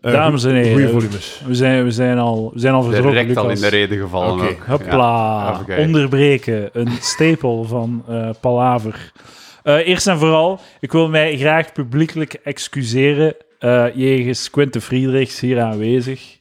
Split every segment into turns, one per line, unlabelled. Eh,
Dames en
goe-
heren.
Goeie volumes.
We zijn, we zijn al, we zijn al vertrokken,
Direct al in de
Lucas.
reden gevallen
Oké,
ook. Ja.
Hopla,
even kijken.
onderbreken. Een stapel van eh Palaver. Eh, eerst en vooral, ik wil mij graag publiekelijk excuseren eh, jegens Quinte Friedrichs hier aanwezig.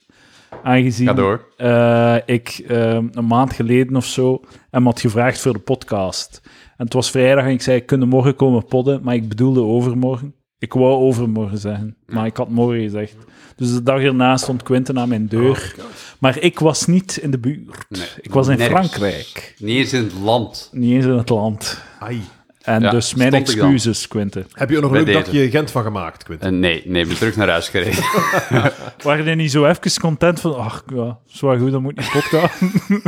Aangezien
Ga door.
eh, ik eh, een maand geleden of zo hem had gevraagd voor de podcast. En het was vrijdag en ik zei, kunnen morgen komen podden? Maar ik bedoelde overmorgen. Ik wou overmorgen zeggen, maar ik had morgen gezegd. Dus de dag erna stond Quinten aan mijn deur. maar ik was niet in de buurt.
Oh Nee,
ik was in
nergens.
Frankrijk.
Niet eens in het land.
Niet eens in het land.
Ai.
En
Ja,
dus mijn
stond ik dan.
excuses, Quinten.
Heb je er nog een
Bij
leuk
deze.
dagje Gent van gemaakt, Quint?
Eh, nee, nee, ik ben terug naar huis gereden.
Waren jullie niet zo even content van... Ach, ja, zwaar goed, dat moet niet podcast.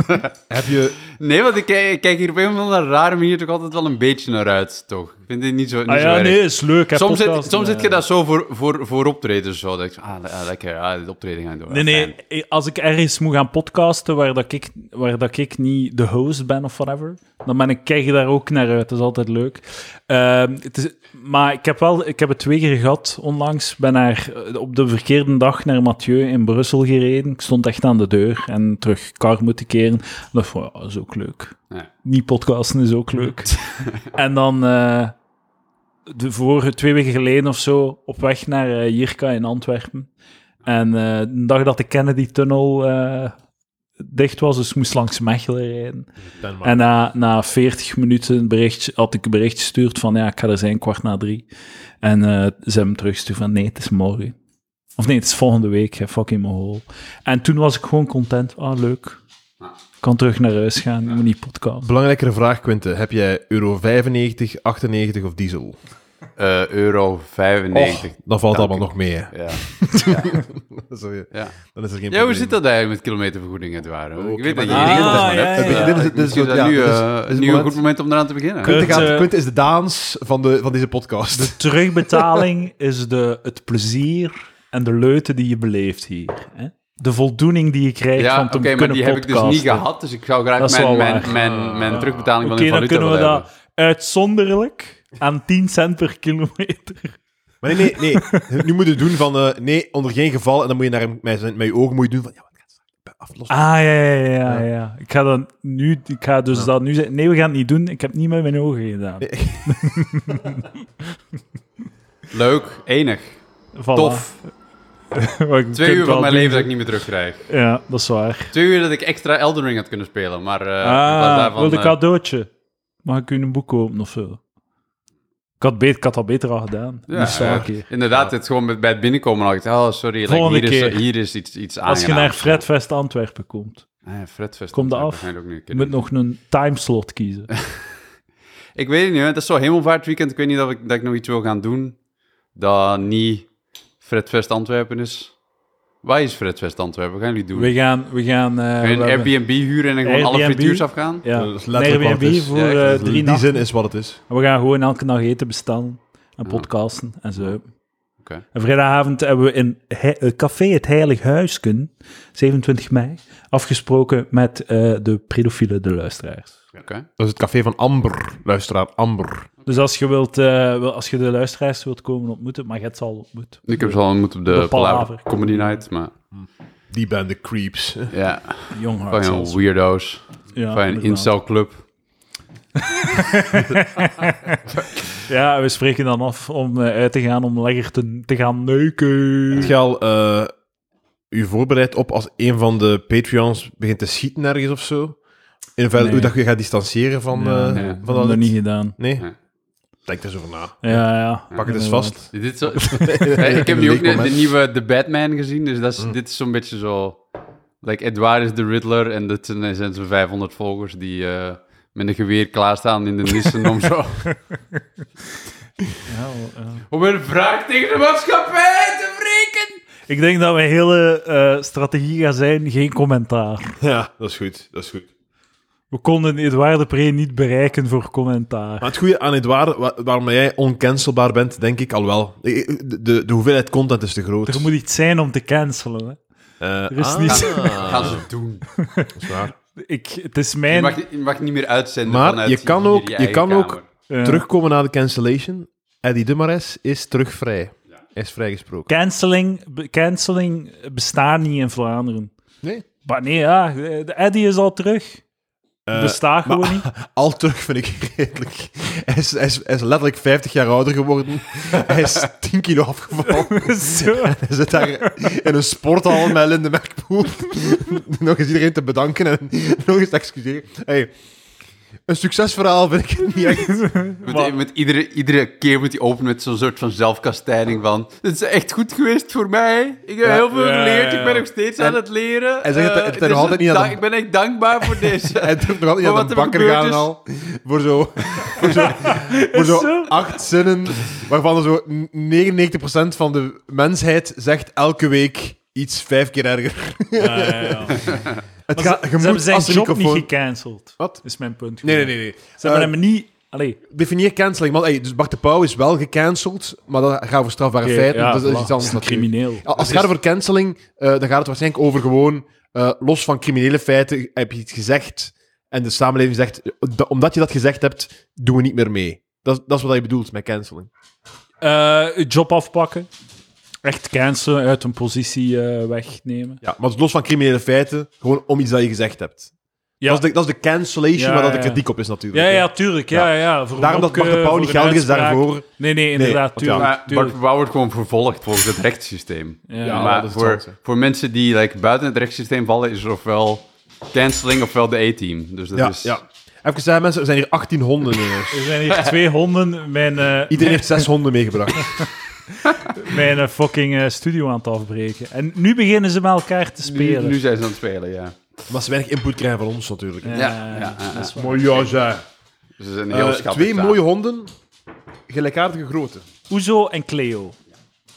Ah
Heb je...
Nee, want ik kijk, ik kijk hier op een of andere rare manier toch altijd wel een beetje naar uit, toch? Ik vind dit niet zo, niet
ah
zo
ja,
erg.
nee, is leuk. hè,
Soms, zit,
podcast.
soms zit je
Eh,
dat zo voor, voor, voor optredens. Zo. Dat ik, zo, ah, le- ah, lekker, ah, dit optreden gaan we door.
Nee,
Ah,
nee,
fijn.
eh, als ik ergens moet gaan podcasten waar, dat ik, waar dat ik niet de host ben of whatever, dan ben ik, kijk je daar ook naar uit. Dat is altijd leuk. Ehm, het is, maar ik heb, wel, ik heb het twee keer gehad onlangs. Ik ben naar, eh, op de verkeerde dag naar Mathieu in Brussel gereden. Ik stond echt aan de deur en terug kar moeten keren. Ik dacht van, ja, dat is ook leuk.
Ja.
Niet podcasten is ook leuk. en dan... eh, de vorige twee weken geleden of zo op weg naar eh, Jirka in Antwerpen. En eh, de dag dat de Kennedy-tunnel eh, dicht was, dus ik moest langs Mechelen rijden. En na, na 40 minuten een bericht, had ik een bericht gestuurd van ja, ik ga er zijn kwart na drie. En eh, ze hebben teruggestuurd van nee, het is morgen. Of nee, het is volgende week, hè, fucking mijn hol. En toen was ik gewoon content. Ah, leuk. Ik kan terug naar huis gaan, ik moet niet podcast.
Belangrijkere vraag, Quinten. Heb jij euro 95, 98 of diesel?
Eh, euro 95.
Och, dan valt
Dank
allemaal
u.
nog mee. hè.
Ja.
Sorry,
Ja.
Dan is er geen
ja, hoe
probleem.
zit dat eigenlijk met kilometervergoeding, het waar?
Oh,
ik weet dat je
kilometer-
regelt
Ah,
dat maar
ja,
net.
ja, ja.
Eh,
Dit is- dit is
misschien
goed, ja,
dat nu,
dit is-
eh,
dit is het
nu een
moment.
goed moment om eraan te beginnen.
Kut.
Quinten, gaat,
eh,
Quinten is de Daans van, de, van deze podcast.
De terugbetaling is de, het plezier en de leuten die je beleeft hier. Hè? De voldoening die je krijgt
Ja,
van
oké,
te
maar
kunnen
die heb ik dus
podcasten.
niet gehad, dus ik zou
Dat
graag
is
mijn,
wel
mijn,
waar.
mijn, mijn terugbetaling van
Ah. Oké, dan
de valuta
kunnen we
willen
dat uitzonderlijk aan 10 cent per kilometer.
Maar nee, nee, nee. Nu moet je doen van... eh, nee, onder geen geval. En dan moet je naar hem, met, zijn- met je ogen moet je doen van... Ja, wat gaat het aflossen?
Ah, ja, ja, ja. ja, ja. Ik ga, dat nu, ik ga dus dat nu zeggen. Nee, we gaan het niet doen. Ik heb het niet met mijn ogen gedaan.
Nee.
Leuk, enig,
Voilà.
tof.
Maar ik
Twee
kan
uur
wel
van mijn
doen.
leven dat ik niet meer terugkrijg.
Ja, dat is waar.
Twee uur dat ik extra Elden Ring had kunnen spelen, maar... eh, in plaats
ah,
daarvan,
wilde ik
eh,
cadeautje? Mag ik u een boek kopen of zo? Ik had, beter, ik had dat beter al gedaan.
Ja,
Niet zo,
ja.
oké.
Inderdaad, het gewoon met- bij het binnenkomen al gezegd, oh sorry, like,
Volgende
hier,
keer.
Is, hier is iets, iets
Als je naar
aangenaams.
Fredvest Antwerpen komt,
Ah, ja, Fredfest.
Kom
dat
er
zou
af.
ik waarschijnlijk ook niet
je
kunnen.
moet nog een timeslot kiezen.
Ik weet het niet, hè. dat is zo hemelvaartweekend. Ik weet niet of ik, dat ik nog iets wil gaan doen dat niet Fredfest Antwerpen is. Waar is Fredfest Antwerpen? Wat gaan jullie doen?
We gaan... We gaan eh, we
Gaan jullie een
hebben-
Airbnb huren en dan gewoon alle
Airbnb?
frituurs afgaan?
Ja,
Dat is
een
letterlijk wat het
Airbnb
is.
voor
Ja, echt,
eh,
dat
In
drie
die
nachten.
zin is wat het is.
En We gaan gewoon elke dag eten bestellen en podcasten en zo.
Oké.
En vrijdagavond hebben we in He- eh, Café Het Heilig Huisken, 27 mei, afgesproken met eh, de pedofiele de luisteraars.
Oké.
Dat is het café van Amber. Luisteraar, Amber.
Dus als je, wilt, eh, wil- als je de luisteraars wilt komen ontmoeten, maar je hebt ze al ontmoet.
Ik heb ze al ontmoet op de
De Palaver.
Palaver Comedy Night, maar
Die band, de creeps.
ja,
Young Hearts.
fucking
zelfs.
weirdo's.
Ja,
Fucking
inderdaad.
incelclub.
Ja, we spreken dan af om eh, uit te gaan om lekker te, te gaan neuken.
Heb je al eh, u voorbereid op als een van de Patreons begint te schieten ergens of zo? In hoeverre
Nee.
hoe dat je gaat distancieren van,
Ja,
eh,
nee.
van
dat
dat
niet gedaan.
Nee?
Nee.
Denk er zo van na.
Ja, ja.
Pak het eens
inderdaad.
vast.
Dit is zo... Hey, ik heb nu ook
Leuk
de, de
moment.
nieuwe The Batman gezien, dus dat
Mm.
is, dit is zo'n beetje zo... Like, Edouard is de Riddler en dat zijn, dat zijn zo'n 500 volgers die eh, met een geweer klaarstaan in de nissen om zo...
Ja, wel, ja.
om een vraag tegen de maatschappij te wreken!
Ik denk dat mijn hele eh, strategie gaat zijn, geen commentaar.
Ja, dat is goed. Dat is goed.
We konden Edouard de Pre niet bereiken voor commentaar.
Maar het goede aan Edouard, wa- waarom jij oncancelbaar bent, denk ik al wel. Ik- ik- De, de, de hoeveelheid content is te groot.
Er moet iets zijn om te cancelen. Hè.
Eh,
is
ah,
niet
Dat
zo-
gaan ze doen.
dat is waar.
Ik, het is
Je
mijn...
mag, je mag niet meer uitzenden
Maar
vanuit
je kan
hier
ook- je
eigen
kan ook-
kamer.
eh,
Terugkomen na de cancellation. Eddie Dumares is terug vrij. is vrijgesproken.
Canceling, be- canceling bestaat niet in Vlaanderen.
Nee.
Maar nee, ja, de Eddy is al terug.
Eh,
bestaat gewoon
maar-
niet.
Al terug vind ik redelijk. Hij is, hij, is, hij is letterlijk 50 jaar ouder geworden. Hij is 10 kilo afgevallen.
Zo.
Hij zit daar in een sporthal met Linde Merkpoel. nog eens iedereen te bedanken en nog eens te excuseren. Hey, een succesverhaal vind ik het niet echt.
Met, met iedere, iedere keer moet hij openen met zo'n soort van zelfkastijding van... Dit is echt goed geweest voor mij. Ik heb
Ja.
heel veel
Ja,
geleerd.
ja,
Ik ben
ja.
nog steeds
En-
aan het leren.
hij zegt dat-
Eh,
dat hij
dit
nog
is
altijd
een
niet aan
dank-
de-
Ik ben echt dankbaar voor
Hij
deze.
durft nog altijd
Maar
niet aan de
wat er
bakker
gebeurd
gaan
is-
al. Voor zo, voor zo, voor zo
zo.
acht zinnen, waarvan er zo 99% van de mensheid zegt elke week iets vijf keer erger.
Ja, ja, ja.
Het
Maar
gaat- je
ze, ze hebben
moet
zijn
als een
job
microfoon-
niet gecanceld.
Wat?
Is mijn punt.
Nee, nee,
gewoon.
nee. nee.
Ze hebben
Eh,
hem niet. Allee,
Definieer canceling. Want, hey, dus Bart de Pauw is wel gecanceld, maar dat gaat over strafbare
oké,
feiten.
ja,
dat is
voilà.
iets anders.
een
natuurlijk.
crimineel.
Als het gaat over canceling, eh, dan gaat het waarschijnlijk over gewoon, eh, los van criminele feiten, heb je iets gezegd en de samenleving zegt, eh, da- omdat je dat gezegd hebt, doen we niet meer mee. Dat, is- dat is wat je bedoelt met canceling.
Eh, je job afpakken. Echt cancelen, uit een positie eh, wegnemen.
Ja, maar het is los van criminele feiten, gewoon om iets dat je gezegd hebt.
Ja.
Dat, is de, dat is de cancellation
Ja,
waar dat de
ja.
kritiek op is natuurlijk.
Ja,
hè.
ja, tuurlijk. Ja, ja. ja. Voor
Daarom
een
dat Bart de
mopke,
Pauw
voor
niet
een
geldig is
uitspraak.
daarvoor.
Nee, nee, inderdaad.
want ja,
tuurlijk,
Maar Bart
tuurlijk.
Bauer wordt gewoon vervolgd volgens het rechtssysteem.
Ja.
Ja, dat
maar
is
voor,
hetzelfde.
voor mensen die like, buiten het rechtssysteem vallen, is er ofwel canceling ofwel de A-team. Dus dat
Ja,
is...
ja. Even zeggen, mensen, er zijn hier 18 honden in huis.
Er zijn hier twee honden mijn, eh,
Iedereen heeft zes honden meegebracht.
mijn eh, fucking eh, studio aan het afbreken. En nu beginnen ze met elkaar te
Nu,
spelen.
nu zijn ze aan het spelen, ja. Dus
Maar ze weinig input krijgen van ons natuurlijk.
Eh,
Ja, ja, ja,
dat is waar.
Mooi, ja, zeg.
Dus het is een
Eh,
heel schattig
twee
taal.
mooie honden, gelijkaardige grootte.
Oezo en Cleo.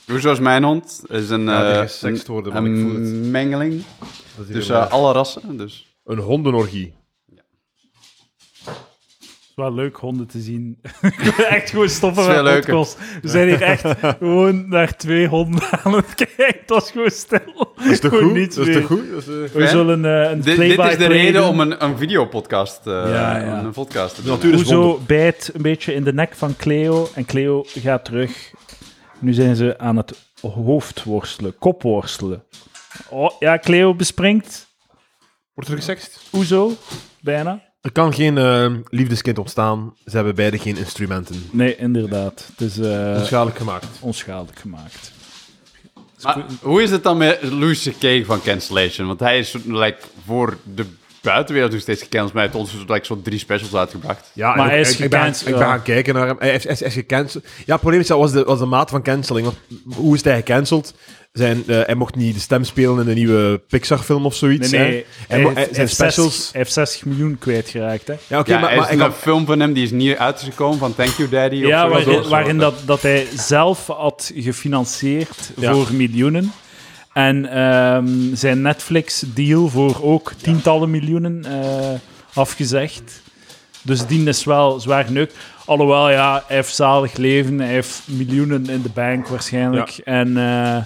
Hoezo is mijn hond? Is een,
Ja,
eh,
er is seks te worden,
een,
maar ik voel het.
een mengeling.
Dat is
Dus
helemaal-
eh, alle rassen. Dus.
een hondenorgie.
Het is wel leuk honden te zien. echt gewoon stoppen
Het is
met
veel
de podcast. We zijn hier echt gewoon naar twee honden aan het kijken. Het was gewoon stil.
Dat is toch
Gewoon
goed?
niets
Dat is toch
meer.
goed? Dat is, eh,
We zullen eh, een
Dit, dit
play-by-play
is de reden
doen.
om een, een videopodcast eh
Ja, ja.
Een podcast te doen.
natuur is wonder.
Oezo bijt een beetje in de nek van Cleo. En Cleo gaat terug. Nu zijn ze aan het hoofdworstelen, kopworstelen. Oh, ja, Cleo bespringt
Wordt er gesext?
Oezo, bijna.
Er kan geen eh, liefdeskind ontstaan. Ze hebben beide geen instrumenten.
Nee, inderdaad. Het is eh,
Onschadelijk gemaakt.
onschadelijk gemaakt.
Maar hoe is het dan met Louis C.K. van Cancellation? Want hij is like, voor de buitenwereld nog steeds gecanceld. Maar hij heeft ons dus, like, zo'n drie specials uitgebracht.
Ja,
Maar
en
hij
ook-
is
ik, ik ben,
gecanceld,
ik ben
ja.
gaan kijken naar hem. Hij is, hij is, hij is gecanceld. Ja, het probleem is, dat was de, was de maat van canceling. Want hoe is hij gecanceld? Zijn, eh, hij mocht niet de stem spelen in een nieuwe Pixar-film of zoiets.
Nee, nee.
Hè? Hij,
Hij,
mo-
heeft-
hij-
hij
zijn
heeft 60
specials...
hij heeft 60 miljoen kwijtgeraakt, hè?
Ja, oké,
ja,
maar,
er is
maar hij
een
kan-
film van hem die is niet uitgekomen van Thank You Daddy. of
Ja,
zo.
waarin,
Zo.
waarin dat, dat hij zelf had gefinancierd
Ja.
voor miljoenen. En ehm, zijn Netflix-deal voor ook tientallen miljoenen eh, afgezegd. Dus die is wel zwaar neuk. Alhoewel, ja, hij heeft zalig leven. Hij heeft miljoenen in de bank waarschijnlijk. En, eh,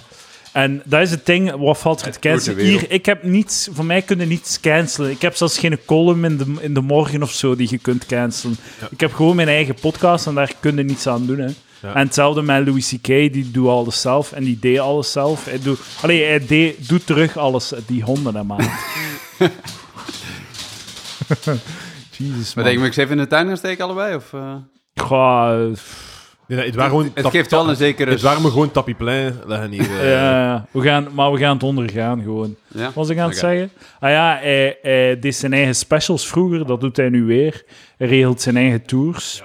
en dat is het ding, wat valt er te cancelen?
wereld.
Hier, ik heb niets, voor mij kunnen niets cancelen. Ik heb zelfs geen column in de, in de morgen of zo die je kunt cancelen. Ik heb gewoon mijn eigen podcast en daar kun je niets aan doen. Hè.
Ja.
En hetzelfde met Louis C.K., die doet alles zelf en die deed alles zelf. Hij doet, allee, hij deed, doet terug alles die honden hem aan. Jezus,
Wat
man.
denk je, moet ik ze even in de tuin gaan steken allebei? Of, eh?
Goh, eh,
Nee, nee, het waren gewoon...
Het
tap-
geeft wel een zekere...
Het waren maar gewoon tapiplein leggen hier. eh.
Ja, we gaan, maar we gaan het ondergaan gewoon.
Ja?
Wat was ik aan het
Oké.
zeggen? Ah ja, hij, hij deed zijn eigen specials vroeger, dat doet hij nu weer. Hij regelt zijn eigen tours.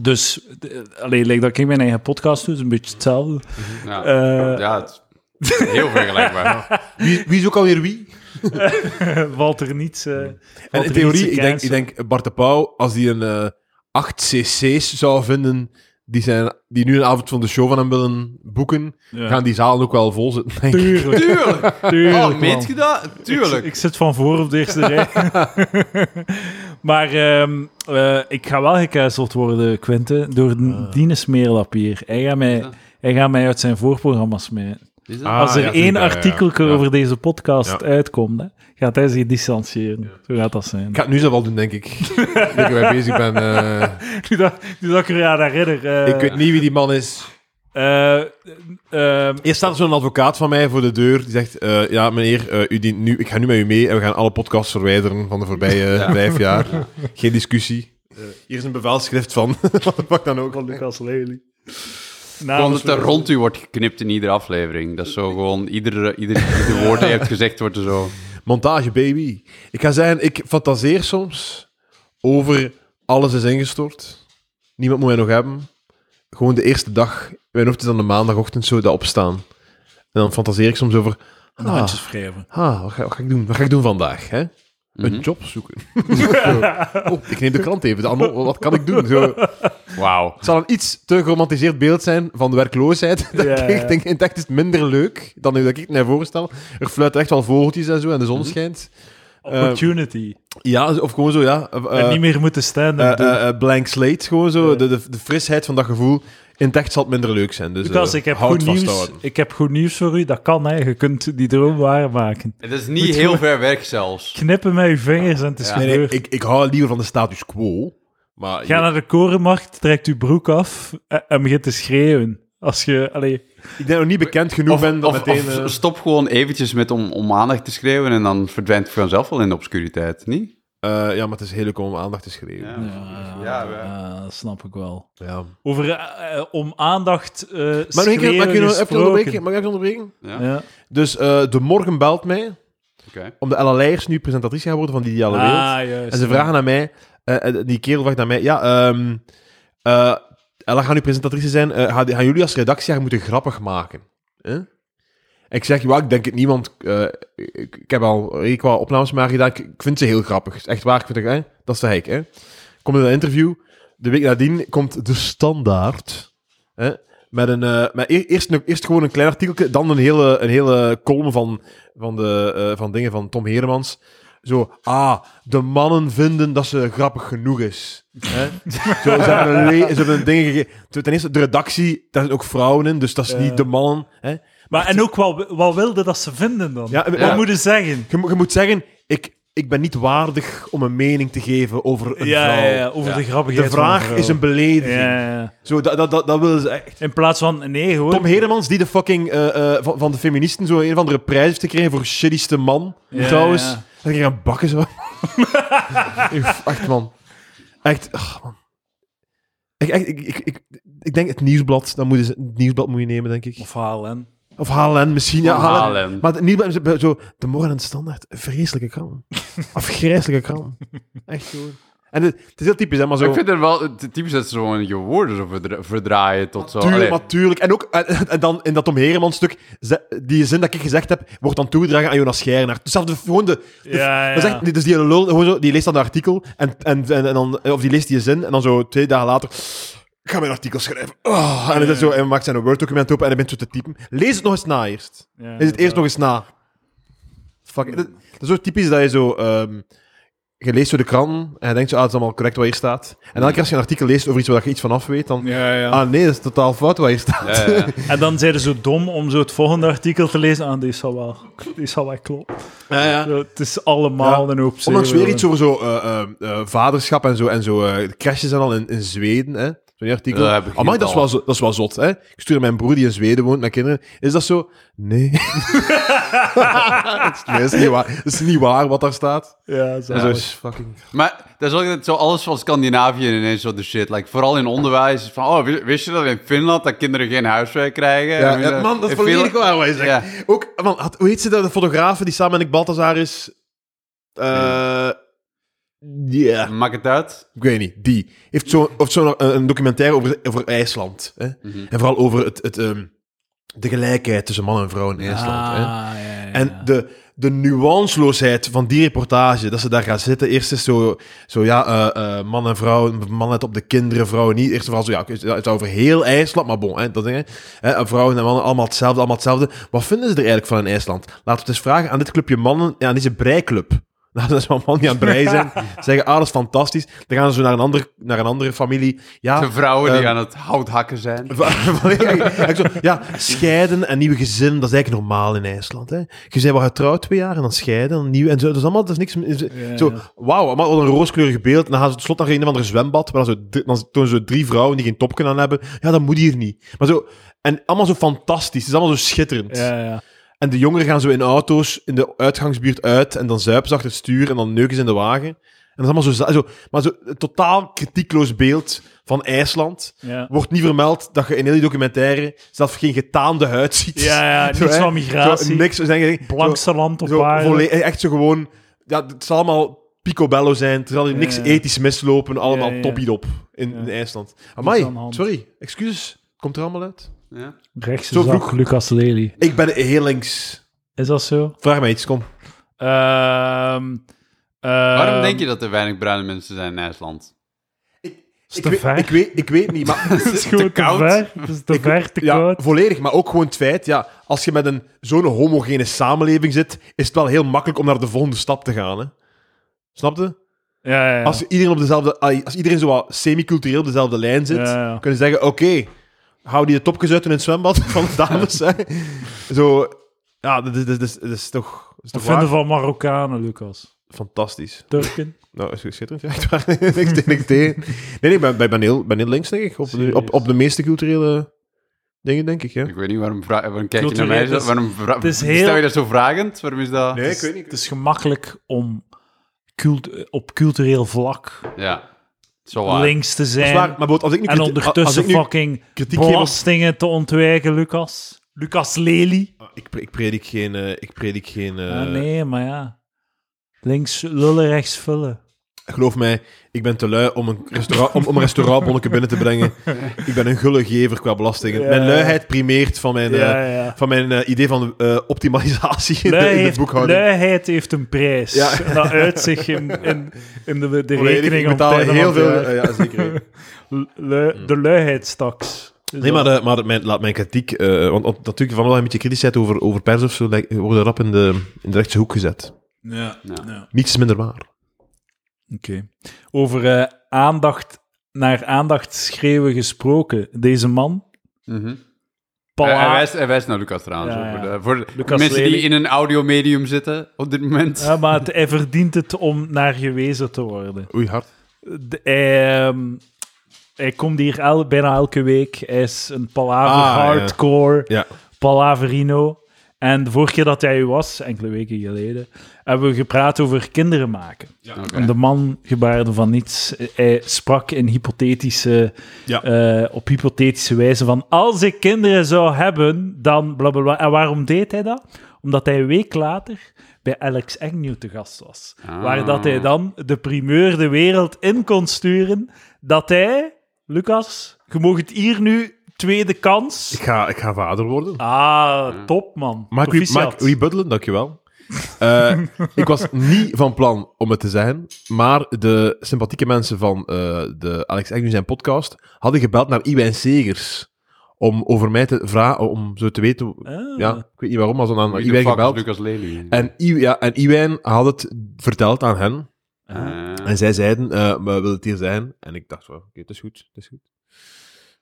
Dus, d- alleen lijkt dat ik mijn eigen podcast doe, is een beetje hetzelfde.
Ja.
Eh,
Ja, het is heel vergelijkbaar.
Wie, wie is ook alweer wie?
valt er niets. eh,
En
valt
in
er
theorie,
niets te
ik denk, ik
cancelen.
denk Bart de Pauw, als hij een eh 8 cc's zou vinden die, zijn, die nu een avond van de show van hem willen boeken,
Ja.
gaan die zalen ook wel vol zitten. denk ik.
Tuurlijk.
Tuurlijk!
tuurlijk
Oh,
man.
meet je dat? Tuurlijk.
Ik, ik zit van voor op de eerste rij. maar ehm, eh, ik ga wel gecanceld worden, Quinten, door uh. Dine Smeerlapier. Hij gaat, mij, hij gaat mij uit zijn voorprogramma's smijten.
Is dat?
Ah,
Als er
ja,
één
tuurlijk, ja, ja, ja.
artikel
Ja.
over deze podcast
Ja.
uitkomt, hè, gaat hij zich distancieren. Zo gaat dat zijn.
Ik ga het nu zelf wel doen, denk ik. ik denk dat ik bezig ben. eh.
Nu dat, nu dat ik er aan herinner. eh,
ik weet niet wie die man is.
Eh, eh,
Eerst staat er zo'n advocaat van mij voor de deur. Die zegt, eh, ja meneer, eh, u dient nu, ik ga nu met u mee en we gaan alle podcasts verwijderen van de voorbije eh, vijf jaar. Geen discussie. Eh, hier is een bevelschrift van, wat de fuck dan ook.
van Lucas Lely.
Gewoon
Namens
dat er rond u wordt geknipt in iedere aflevering. Dat is zo gewoon, ieder, ieder, ieder woord dat je hebt gezegd wordt er zo...
Montage, baby. Ik ga zeggen, ik fantaseer soms over alles is ingestort. Niemand moet mij nog hebben. Gewoon de eerste dag. Mijn hoofd is dan de maandagochtend zo dat opstaan. En dan fantaseer ik soms over...
de handjes wrijven.
Ah, wat ga, wat ga ik doen? Mhm. Wat ga ik doen vandaag? Hè? Een job zoeken. Zo. oh, ik neem de krant even. Dan, oh, wat kan ik doen? Zo.
Wauw.
Het zal een iets te geromantiseerd beeld zijn van de werkloosheid. Dat
Ja, ja.
ik denk, in het echt is het minder leuk dan nu dat ik het mij voorstel. Er fluiten echt wel vogeltjes en zo en de zon
Mhm.
schijnt.
Opportunity.
Ja, of gewoon zo, ja. eh,
en niet meer moeten staan.
eh, eh, eh, blank slate, gewoon zo.
Ja.
De, de, de frisheid van dat gevoel. In het echt zal het minder leuk zijn. Dus,
Lucas,
eh,
ik heb,
hou
goed
het
nieuws.
vasthouden.
ik heb goed nieuws voor u. Dat kan, hè. Je kunt die droom waarmaken.
Het is
Moet
niet
je
heel
maar-
ver weg zelfs.
Knippen met uw vingers en het is
Ja.
Nee, nee,
gebeurd.
ik, ik hou liever van de status quo. Maar
Ga naar de korenmarkt, trekt uw broek af en, en begint te schreeuwen. Als je... Allee,
ik denk nog niet bekend genoeg
Of,
ben dat
of-
meteen...
of
eh,
stop gewoon eventjes met om, om aandacht te schreeuwen en dan verdwijnt het vanzelf wel in de obscuriteit, niet?
eh, ja, maar het is heel leuk om aandacht te schreeuwen. Ja.
Ja, we-
eh, dat snap ik wel. Over eh, eh, om aandacht eh
Maar nog een keer, mag ik u nog even onderbreken?
gesproken.
Mag ik even onderbreken?
Ja,
Ja.
Dus eh, de morgen belt mij,
oké.
omdat Ella Leijers nu presentatrice gaat worden van Die Ideale Wereld.
Ah, juist.
En ze vragen naar mij, eh, eh, die kerel vraagt naar mij, ja, ehm eh, Ella gaat nu presentatrice zijn, eh, gaan, gaan jullie als redactie haar moeten grappig maken? Hè? En ik zeg, ja, ik denk het niemand, eh, ik, ik heb al redelijk wat opnames maar gedaan, ik, ik vind ze heel grappig. Echt waar, ik vind het, hè? dat is de hek. Hè? Komt in een interview, de week nadien komt de standaard, hè? Met een, eh, met e- eerst, een- eerst gewoon een klein artikeltje, dan een hele, een hele column van, van, de, eh, van dingen van Tom Heremans. Zo, ah, de mannen vinden dat ze grappig genoeg is. Hè? Zo, ze, hebben een le- ze hebben dingen gegeven. Ten eerste, de redactie, daar zijn ook vrouwen in, dus dat is
Ja.
niet de mannen. Hè?
Maar en ook, wat, wat wilde dat ze vinden dan?
Ja,
Wat
ja.
moeten ze zeggen?
Je, moet- je moet zeggen, ik, ik ben niet waardig om een mening te geven over een
Ja,
vrouw.
ja, ja, over
Ja.
de grappigheid
De
van
vraag
vrouw.
is een belediging.
Ja, ja, ja.
Zo, dat, dat, dat, dat willen ze echt.
In plaats van, nee hoor.
Tom Heremans, die de fucking eh, eh, van, van de feministen zo een of andere prijs heeft gekregen voor shittyste man,
Ja,
trouwens.
ja.
Dat ging aan bakken zo. Uff, echt man. Echt, ach, man. Ik, echt, ik, ik, ik, ik denk het nieuwsblad, dan moeten ze het nieuwsblad moet je nemen, denk ik.
Of HLN.
Of HLN misschien. Ja,
Ja,
HLN.
halen.
Maar het nieuwsblad is zo, de morgen en de standaard, vreselijke kram. Afgrijzelijke kram. Echt gewoon. En het, het is heel typisch, hè, maar zo.
Ik vind het wel het typisch dat ze gewoon je woorden zo verdra- verdraaien tot zo.
Tuurlijk,
Allee,
maar tuurlijk. En ook en, en dan in dat Tom Heremans stuk, ze- die zin dat ik gezegd heb, wordt dan toegedragen aan Jonas Schijrenaar. Dus zelfs de, gewoon de... de
Ja, ja.
dat is echt- dus die lul, gewoon zo, die leest dan een artikel, en, en, en, en dan, of die leest die zin, en dan zo twee dagen later... Ik ga mijn artikel schrijven. Ah, en, het is zo, en hij maakt zijn Word-document open en hij bent zo te typen. Lees het nog eens na eerst.
Ja,
Is het eerst nog eens na. Fuck. it. Dat, dat is zo typisch dat je zo... ehm, je leest zo de kranten en je denkt zo, ah, het is allemaal correct wat hier staat. En elke keer als je een artikel leest over iets waar je iets van af weet, dan...
Ja, ja.
Ah nee, dat is totaal fout wat hier staat.
ja, ja, ja.
En dan zijn ze zo dom om zo het volgende artikel te lezen. Ah, die zal wel, die zal wel kloppen. Zo, Het is allemaal
Ja.
een hoop
Onlangs
zeeuwen.
weer iets over zo, eh, eh, eh, vaderschap en zo, en zo eh, de crashes en al in, in Zweden. Hè? Zo'n artikel.
Ja, heb ik
Amai,
hier
dat is,
al.
wel, zo- dat is wel zot. Hè? Ik stuur mijn broer die in Zweden woont naar kinderen. Is dat zo? Nee. nee, dat is, niet waar. dat is niet waar wat daar staat.
Ja,
En zo
zalig.
is fucking...
Maar dat is ook dat zo alles van Scandinavië ineens zo de shit. Like, vooral in onderwijs. Van, oh, wi- wist je dat in Finland dat kinderen geen huiswerk krijgen?
Ja,
En, eh,
man, dat is
in
volledig
Finland-
waar wat je zegt.
Ja.
Ook, man, had- hoe heet ze dat, de fotograaf die samen met Nick Balthazar is? Eh, Ja,
Maak het uit.
ik weet niet. Die heeft zo'n zo eh, een, een documentaire over, over IJsland. Hè?
Mhm.
En vooral over het, het, ehm, de gelijkheid tussen mannen en vrouwen in IJsland.
Ah,
hè.
ja, ja, ja.
En de, de nuanceloosheid van die reportage, dat ze daar gaan zitten. Eerst is zo, zo ja, eh, eh, man en vrouw, man let op de kinderen, vrouwen niet. Eerst en vooral zo, ja, oké, het is over heel IJsland, maar bon, hè, dat ding. Hè, Hè, vrouwen en mannen, allemaal hetzelfde, allemaal hetzelfde. Wat vinden ze er eigenlijk van in IJsland? Laten we het eens vragen aan dit clubje mannen, ja, aan deze breiklub. Nadat ze allemaal niet aan het breien zijn, zeggen, ah, dat is fantastisch. Dan gaan ze naar een andere, naar een andere familie. Ja,
De vrouwen die
Ehm.
aan het hout hakken zijn.
Ik zo, ja, scheiden en nieuwe gezin, dat is eigenlijk normaal in IJsland. Hè? Je bent wel getrouwd twee jaar en dan scheiden. En nieuw, en zo, dat is allemaal dat is niks. is-
Ja,
zo,
ja.
wauw, maar wat een rooskleurig beeld. En dan gaan ze tot slot naar een of andere zwembad. Waar dan, zo, drie- dan tonen ze drie vrouwen die geen topken aan hebben. Ja, dat moet hier niet. Maar zo, en allemaal zo fantastisch. Het is allemaal zo schitterend.
Ja, ja.
En de jongeren gaan zo in auto's in de uitgangsbuurt uit. En dan zuipen ze achter het stuur en dan neuken ze in de wagen. En dat is allemaal zo, za- zo, maar zo een totaal kritiekloos beeld van IJsland.
Ja,
Wordt niet vermeld dat je in heel die documentaire zelfs geen getaande huid ziet.
ja, ja
Zo,
niets
hè.
van
Zo,
migratie.
niks. Zo, zijn-
Blankse land op
zo,
aarde.
volle- echt zo gewoon... Ja, het zal allemaal picobello zijn. Er zal hier niks
Ja, ja.
ethisch mislopen. Allemaal
Ja, ja.
toppied op in,
Ja.
in IJsland.
is
Amai,
aan de hand.
sorry. Excuses. Komt er allemaal uit?
ehm,
Ja.
Rechts
Zo
is
vroeg.
ook Lucas Lely.
Ik ben heel links.
Is dat zo?
Vraag mij iets, kom.
Ehm,
Waarom
ehm,
denk je dat er weinig bruine mensen zijn in IJsland?
Is
Ik
te
weet,
ver.
ik, weet, ik weet niet, maar...
Het is gewoon te,
koud?
ver. Het is te
Ik-
ver, te
Ja,
koud.
volledig, maar ook gewoon het feit, ja, als je met een, zo'n homogene samenleving zit, is het wel heel makkelijk om naar de volgende stap te gaan. Hè? Snap je?
Ja, ja, ja.
Als, iedereen op dezelfde, als iedereen zo wat semi-cultureel op dezelfde lijn zit,
Ja, ja.
kunnen ze zeggen, oké, hou die de topjes uit in het zwembad van de dames. hè. Zo, ja, dat is, dat is, dat is toch, dat is
Wat
toch
vinden
waar?
van Marokkanen, Lucas?
fantastisch.
Turken?
Nou, is het schitterend, ja, echt waar. niks, tegen, niks tegen. Nee, nee, ik ben, ik ben, heel, ik ben heel links, denk ik, op, de- op, op de meeste culturele dingen, denk ik, ja.
Ik weet niet, waarom, vra- waarom kijk je naar
Cultureel,
mij?
dat
Zo,
is-
waarom vra-
is heel-
Stel je dat zo vragend? Waarom is dat...
Nee,
Het
ik
is-
weet niet.
Het is gemakkelijk om cult- op cultureel vlak
Ja, zo waar.
links te
Dat is
zijn.
waar, maar bijvoorbeeld als ik nu,
en
kriti- als
ondertussen
ik nu
fucking
kritiek geef op-
belastingen te ontwijken, Lucas. Lucas Lely.
Ik, pre- ik predik geen. eh, ik predik geen eh,
Ah, nee, maar ja. Links lullen, rechts vullen.
Geloof mij, ik ben te lui om een, restaurant, om, om een restaurantbonnetje binnen te brengen. Ik ben een gulle gever qua belastingen.
Ja.
Mijn luiheid primeert van mijn, eh,
ja, ja.
van mijn eh, idee van eh, optimalisatie in de,
Lui
in de
heeft,
boekhouding.
luiheid heeft een prijs.
Ja.
En dat uit zich in, in, in de, de
Volledig,
rekening
ik
om
betaal
het einde
heel
van
veel.
het jaar.
eh, ja, zeker.
Lui- de luiheidstaks. Is
Nee, maar,
dat-
de, maar mijn, laat mijn kritiek. eh, want want natuurlijk, van wel een beetje kritisch zijn over, over pers of zo, lijkt- worden rap in de, in de rechtse hoek gezet.
Ja,
Ja.
ja.
Niets minder waar.
Oké. Over eh, aandacht, naar aandacht schreeuwen gesproken. Deze man,
Mhm.
Paul
Hij- Hij
Aar-
wijst, hij wijst naar Lucas trouwens.
Ja,
hoor,
ja.
Voor de, voor de
Lucas
mensen
Lely.
die in een audiomedium zitten op dit moment.
Ja, maar het, hij verdient het om naar gewezen te worden.
Oei, hard.
De- hij, ehm, hij komt hier el- bijna elke week. Hij is een palaver
Ah, ja.
hardcore,
Ja.
palaverino. En de vorige keer dat hij hier was, enkele weken geleden, hebben we gepraat over kinderen maken.
Oké.
En de man gebaarde van niets. Hij sprak in hypothetische,
Ja.
eh, op hypothetische wijze van... Als ik kinderen zou hebben, dan blablabla. En waarom deed hij dat? Omdat hij een week later bij Alex Agnew te gast was.
Ah.
Waar dat hij dan de primeur de wereld in kon sturen dat hij... Lucas, je mag het hier nu, tweede kans.
Ik ga, ik ga vader worden.
Ah, top man.
Mag ik, re- mag
Proficiat.
ik rebuttelen? Dankjewel. Eh ik was niet van plan om het te zijn, maar de sympathieke mensen van eh, de Alex Agnew zijn podcast hadden gebeld naar Iwijn Segers om over mij te vragen, om zo te weten...
Ah.
Ja, ik weet niet waarom, maar ze hadden aan
Wie de
Iwijn
fuck is
gebeld.
Lucas Lely.
En, I, ja, en Iwijn had het verteld aan hen.
Ah.
Eh,
En zij zeiden, eh maar wil het hier zijn? En ik dacht, wel, oké, het is goed, het is goed.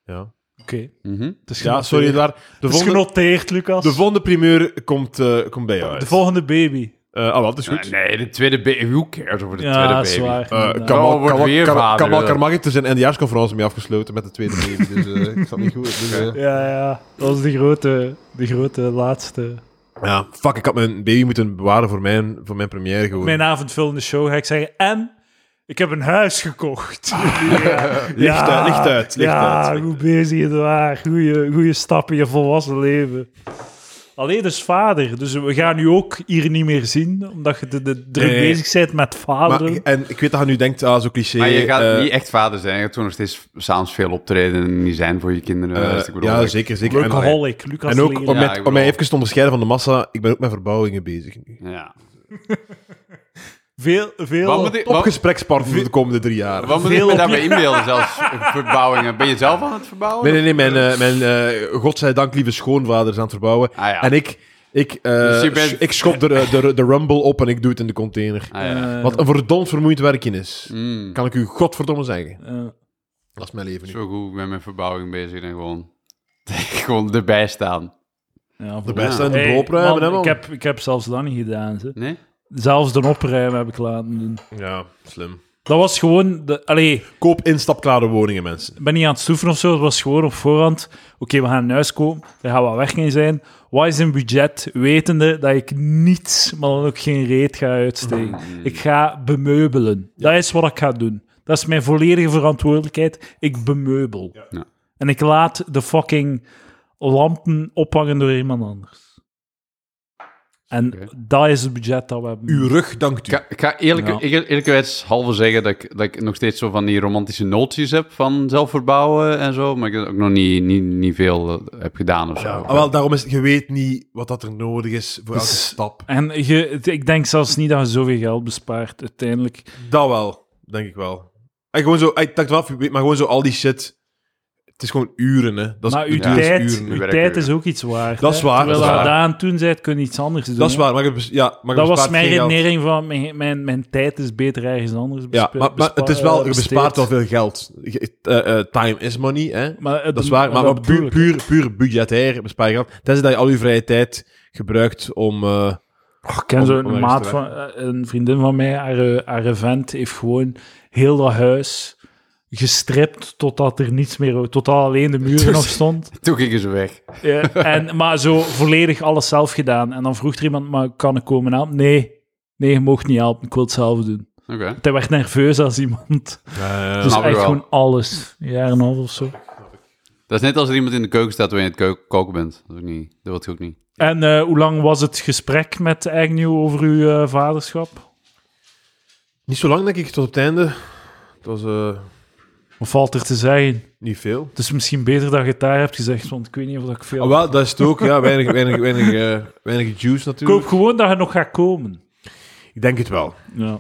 Ja,
Oké.
mhm.
Het is
ja
genoteerd.
sorry daar. De
Het is
volgende,
genoteerd, Lucas.
de volgende primeur komt, eh, komt bij jou uit.
de volgende baby.
Eh, ah, wel, het is goed.
Ah, Nee, de tweede baby. Who cares over de tweede
Ja,
baby?
zwaar.
Eh,
inderdaad.
kan-
Kamal,
Oh, wordt
Kamal,
weer
Kamal,
vader,
Kamal
ja.
Karmaghi heeft er zijn eindejaarsconferentie mee afgesloten met de tweede baby, dus eh, ik zat niet goed. Dus, eh,
Ja, ja, dat was de grote, de grote laatste.
ja, fuck, ik had mijn baby moeten bewaren voor mijn, voor mijn première gewoon.
Mijn avondvullende show ga ik zeggen. En ik heb een huis gekocht. ja,
Licht uit, licht uit, licht
ja,
uit.
goed bezig, het waar. Goeie, goeie stap in je volwassen leven. Alleen dus vader. Dus we gaan u ook hier niet meer zien, omdat je de, de druk
Nee.
bezig bent met
Maar-
vaderen.
en ik weet dat je nu denkt, ah, zo cliché.
Maar je gaat
eh,
niet echt vader zijn. Je gaat toen nog steeds s'avonds veel optreden en niet zijn voor je kinderen.
eh,
Dus ik bedoel,
ja,
ik-
zeker, zeker. En,
Workaholic, Lucas
en ook
Lely.
om,
Ja, ik
met, om
bedoel-
mij even te onderscheiden van de massa, ik ben ook met verbouwingen bezig nu.
Ja.
Veel, veel...
Wat moet ik, wat,
Topgesprekspartner voor de komende drie jaar.
wat moet ik
Veel
me
op-
daarbij inbeelden? Zelfs verbouwingen. Ben je zelf aan het verbouwen?
Nee, nee, nee, mijn, eh, mijn eh, godzijdank lieve schoonvader is aan het verbouwen.
Ah, ja.
En ik Ik, eh,
Dus je bent-
sch- ik schop de, eh, de, de Rumble op en ik doe het in de container.
Ah, ja.
Eh,
Wat een verdomd vermoeiend werk in is.
Mm.
Kan ik u godverdomme zeggen.
eh,
Dat is mijn leven nu.
Zo goed met mijn verbouwing bezig en gewoon, gewoon erbij staan.
ja,
De
voor-
beste en de
Hey,
opruimen, hè,
man,
man.
ik, heb, ik heb zelfs dat niet gedaan. Ze.
Nee?
Zelfs de opruimen heb ik laten doen.
Ja, slim.
Dat was gewoon... De, allee,
Koop instapklare woningen, mensen.
ik ben niet aan het stoeven of zo. Het was gewoon op voorhand. Oké, we gaan een huis kopen. Daar gaan wat weg in zijn. Wat is een budget? Wetende dat ik niets, maar dan ook geen reet ga uitsteken.
Mm.
Ik ga bemeubelen. Dat is wat ik ga doen. Dat is mijn volledige verantwoordelijkheid. Ik bemeubel.
Ja.
En ik laat de fucking lampen ophangen door iemand anders. En
Oké.
dat is het budget dat we hebben.
Uw rug dankt u.
Ik ga, ik ga eerlijk,
Ja.
ik- eerlijkerwijs halve zeggen dat ik, dat ik nog steeds zo van die romantische noties heb van zelf verbouwen en zo, maar ik dat ook nog niet, niet, niet veel eh, heb gedaan of zo.
Ah, wel, daarom is het- je weet niet wat dat er nodig is voor elke
Dus-
stap.
En je, het- ik denk zelfs niet dat je zoveel geld bespaart uiteindelijk.
Dat wel, denk ik wel. En gewoon zo, ik dacht wel, je weet, maar gewoon zo al die shit. Het is gewoon uren, hè. Dat is
maar uw
ja.
uren,
tijd,
uren.
uw
Uw
tijd is
werkuren.
ook iets waard.
Dat is
hè.
waar,
Terwijl
dat is
je
waar.
aan toen bent, kun je iets anders doen.
Dat is
hè.
waar, maar je, bes- ja, maar je
Dat was
bespaart
mijn
geen geld.
redenering van mijn, mijn, mijn tijd is beter ergens anders
Ja,
bespe-
maar, maar het is
bespa-
wel,
eh,
je
besteed.
bespaart wel veel geld. Je- eh, eh, time is money, hè.
Maar, het-
Mm, Dat is waar, maar,
dat
puur,
bedoel ik.
puur, puur budgetair bespaar je geld. Tenzij dat je al je vrije tijd gebruikt om... eh,
Oh, ik ken
om-
zo'n
om ergens
maat
te
van, eh, een vriendin van mij, haar, eh, haar vent heeft gewoon heel dat huis gestript totdat er niets meer, totdat alleen de muren
Dus-
nog stond.
Toen gingen ze weg.
Ja, en, maar zo volledig alles zelf gedaan. En dan vroeg er iemand, maar kan ik komen helpen? Nee, nee, je mocht niet helpen, ik wil het zelf doen.
Oké.
Want Hij werd nerveus als iemand. Dus
snap ik
echt
wel.
gewoon alles. Een jaar en een half of zo.
Dat is net als er iemand in de keuken staat wanneer je in het keu- koken bent. Dat, is ook niet, dat wil ik ook niet.
En eh, hoe lang was het gesprek met Agnew over uw eh, vaderschap?
niet zo lang, denk ik, tot op het einde. Het was eh,
Of valt er te zeggen?
niet veel.
Het is misschien beter dat je het daar hebt gezegd, want ik weet niet of dat ik veel...
Ah, wel, dat is het ook, ja. Weinig, weinig, weinig, eh, weinig juice natuurlijk.
Koop gewoon dat je nog gaat komen.
Ik denk het wel.
Ja.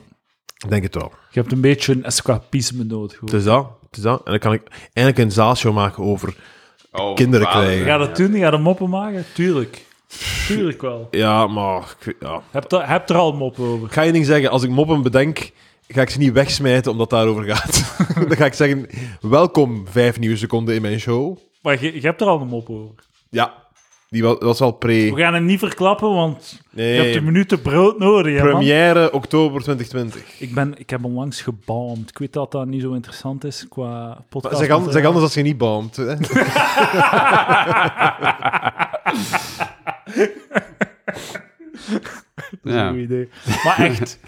Ik denk het wel.
Je hebt een beetje een escapisme nodig.
Het
Gewoon.
is dat. Het is dat. En dan kan ik eindelijk een zaalshow maken over...
Oh,
Kinderen
vader.
krijgen.
Ga je dat doen? Ga je er moppen maken? Tuurlijk. Tuurlijk wel.
Ja, maar... Ik, weet- ja.
Heb, er- heb er al moppen over.
Ik ga je ding zeggen. Als ik moppen bedenk, ga ik ze niet wegsmijten omdat het daarover gaat. dan ga ik zeggen, welkom vijf nieuwe seconden in mijn show.
Maar je, je hebt er al een mop over.
Ja, die was, was al
We
pre...
gaan hem niet verklappen, want je hebt
Nee,
een minuten brood nodig. Hè, man.
première oktober 2020.
Ik, ben, ik heb onlangs gebalmd. Ik weet dat dat niet zo interessant is eh, qua
Maar
podcast.
Zeg, an- zeg anders als je niet baamt. Hè?
Dat is een
Ja.
goed idee. Maar echt,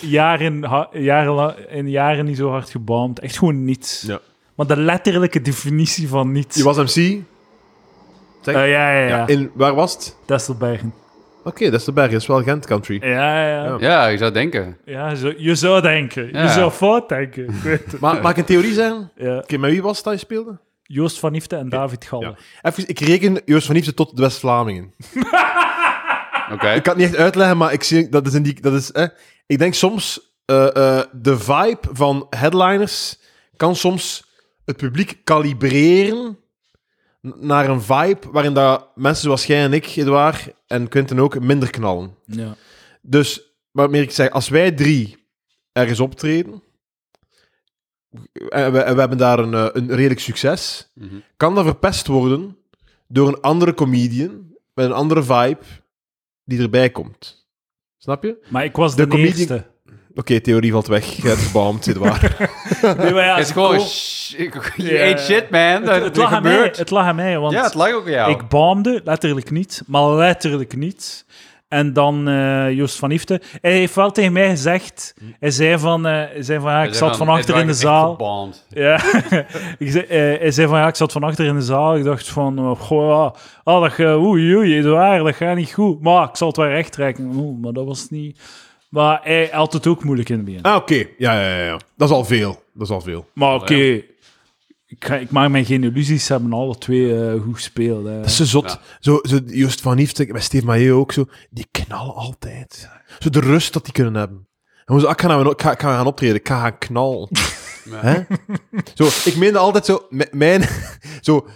jaren, ha- jarenla- in jaren niet zo hard gebalmd. Echt gewoon niets.
Ja.
Maar de letterlijke definitie van niets.
Je was MC. Zeg,
Eh, ja, ja, ja.
ja, in, waar was het?
Destelbergen.
Oké, dat is de berg. Dat is wel Gent Country.
Ja, ja. ja.
Ja, ik zou denken.
ja zo, je zou denken.
Ja.
Je zou fout denken. Ik weet het.
Maar mag ik een theorie zeggen?
Ja.
Oké, maar wie was het dat je speelde?
Joost van Ifte en David Galle.
Even, ik reken Joost van Liefde tot de West-Vlamingen.
Oké.
Ik kan het niet echt uitleggen, maar ik zie, dat is in die, dat is, eh, ik denk soms, eh, eh, de vibe van headliners kan soms het publiek kalibreren n- naar een vibe waarin dat mensen zoals jij en ik, Edouard, en Quinten ook, minder knallen.
Ja.
Dus, wat meer ik zeg, als wij drie ergens optreden, en we, en we hebben daar een, eh, een redelijk succes,
Mhm.
kan dat verpest worden door een andere comedian met een andere vibe die erbij komt. Snap je?
Maar ik was
De
de,
comedian-
eerste.
Oké, theorie valt weg. Je hebt gebaamd, zit waar.
Nee, maar ja,
Het is
ik
gewoon...
kon-
sh- ik- Je
Ah, Ja.
eet shit, man.
het,
Dat,
het
dat
lag aan mij,
gebeurt.
het lag aan mij, want
ja, het lag ook aan jou.
ik baamde letterlijk niet, maar letterlijk niet. En dan eh, Joost van Ifte. Hij heeft wel tegen mij gezegd, hij zei van, eh, hij zei van ja, ik zat van achter in de zaal. Ja. ik zei, eh, hij zei van ja, ik zat van achter in de zaal. Ik dacht van, eh, goh, ja, ah, dat, gaat- oei, oei, Edouard, dat gaat niet goed. Maar ik zal het wel recht trekken. Oeh, maar dat was niet... Maar hij had het ook moeilijk in het begin.
Ah, oké. Ja, ja, ja, ja. Dat is al veel. Dat is al veel.
Maar oké, ik, ga- ik maak mij geen illusies. Ze hebben alle twee eh, goed gespeeld. hè.
Dat is zo zot.
Ja.
Zo, zo Joost van Liefde, bij Steve Maillet ook zo. Die knallen altijd. Zo de rust dat die kunnen hebben. En gewoon zo, ah, ik ga, nou, ik, ga, ik ga gaan optreden. Ik ga gaan knallen. Hè? Zo, ik meende altijd zo... m- Mijn... Zo,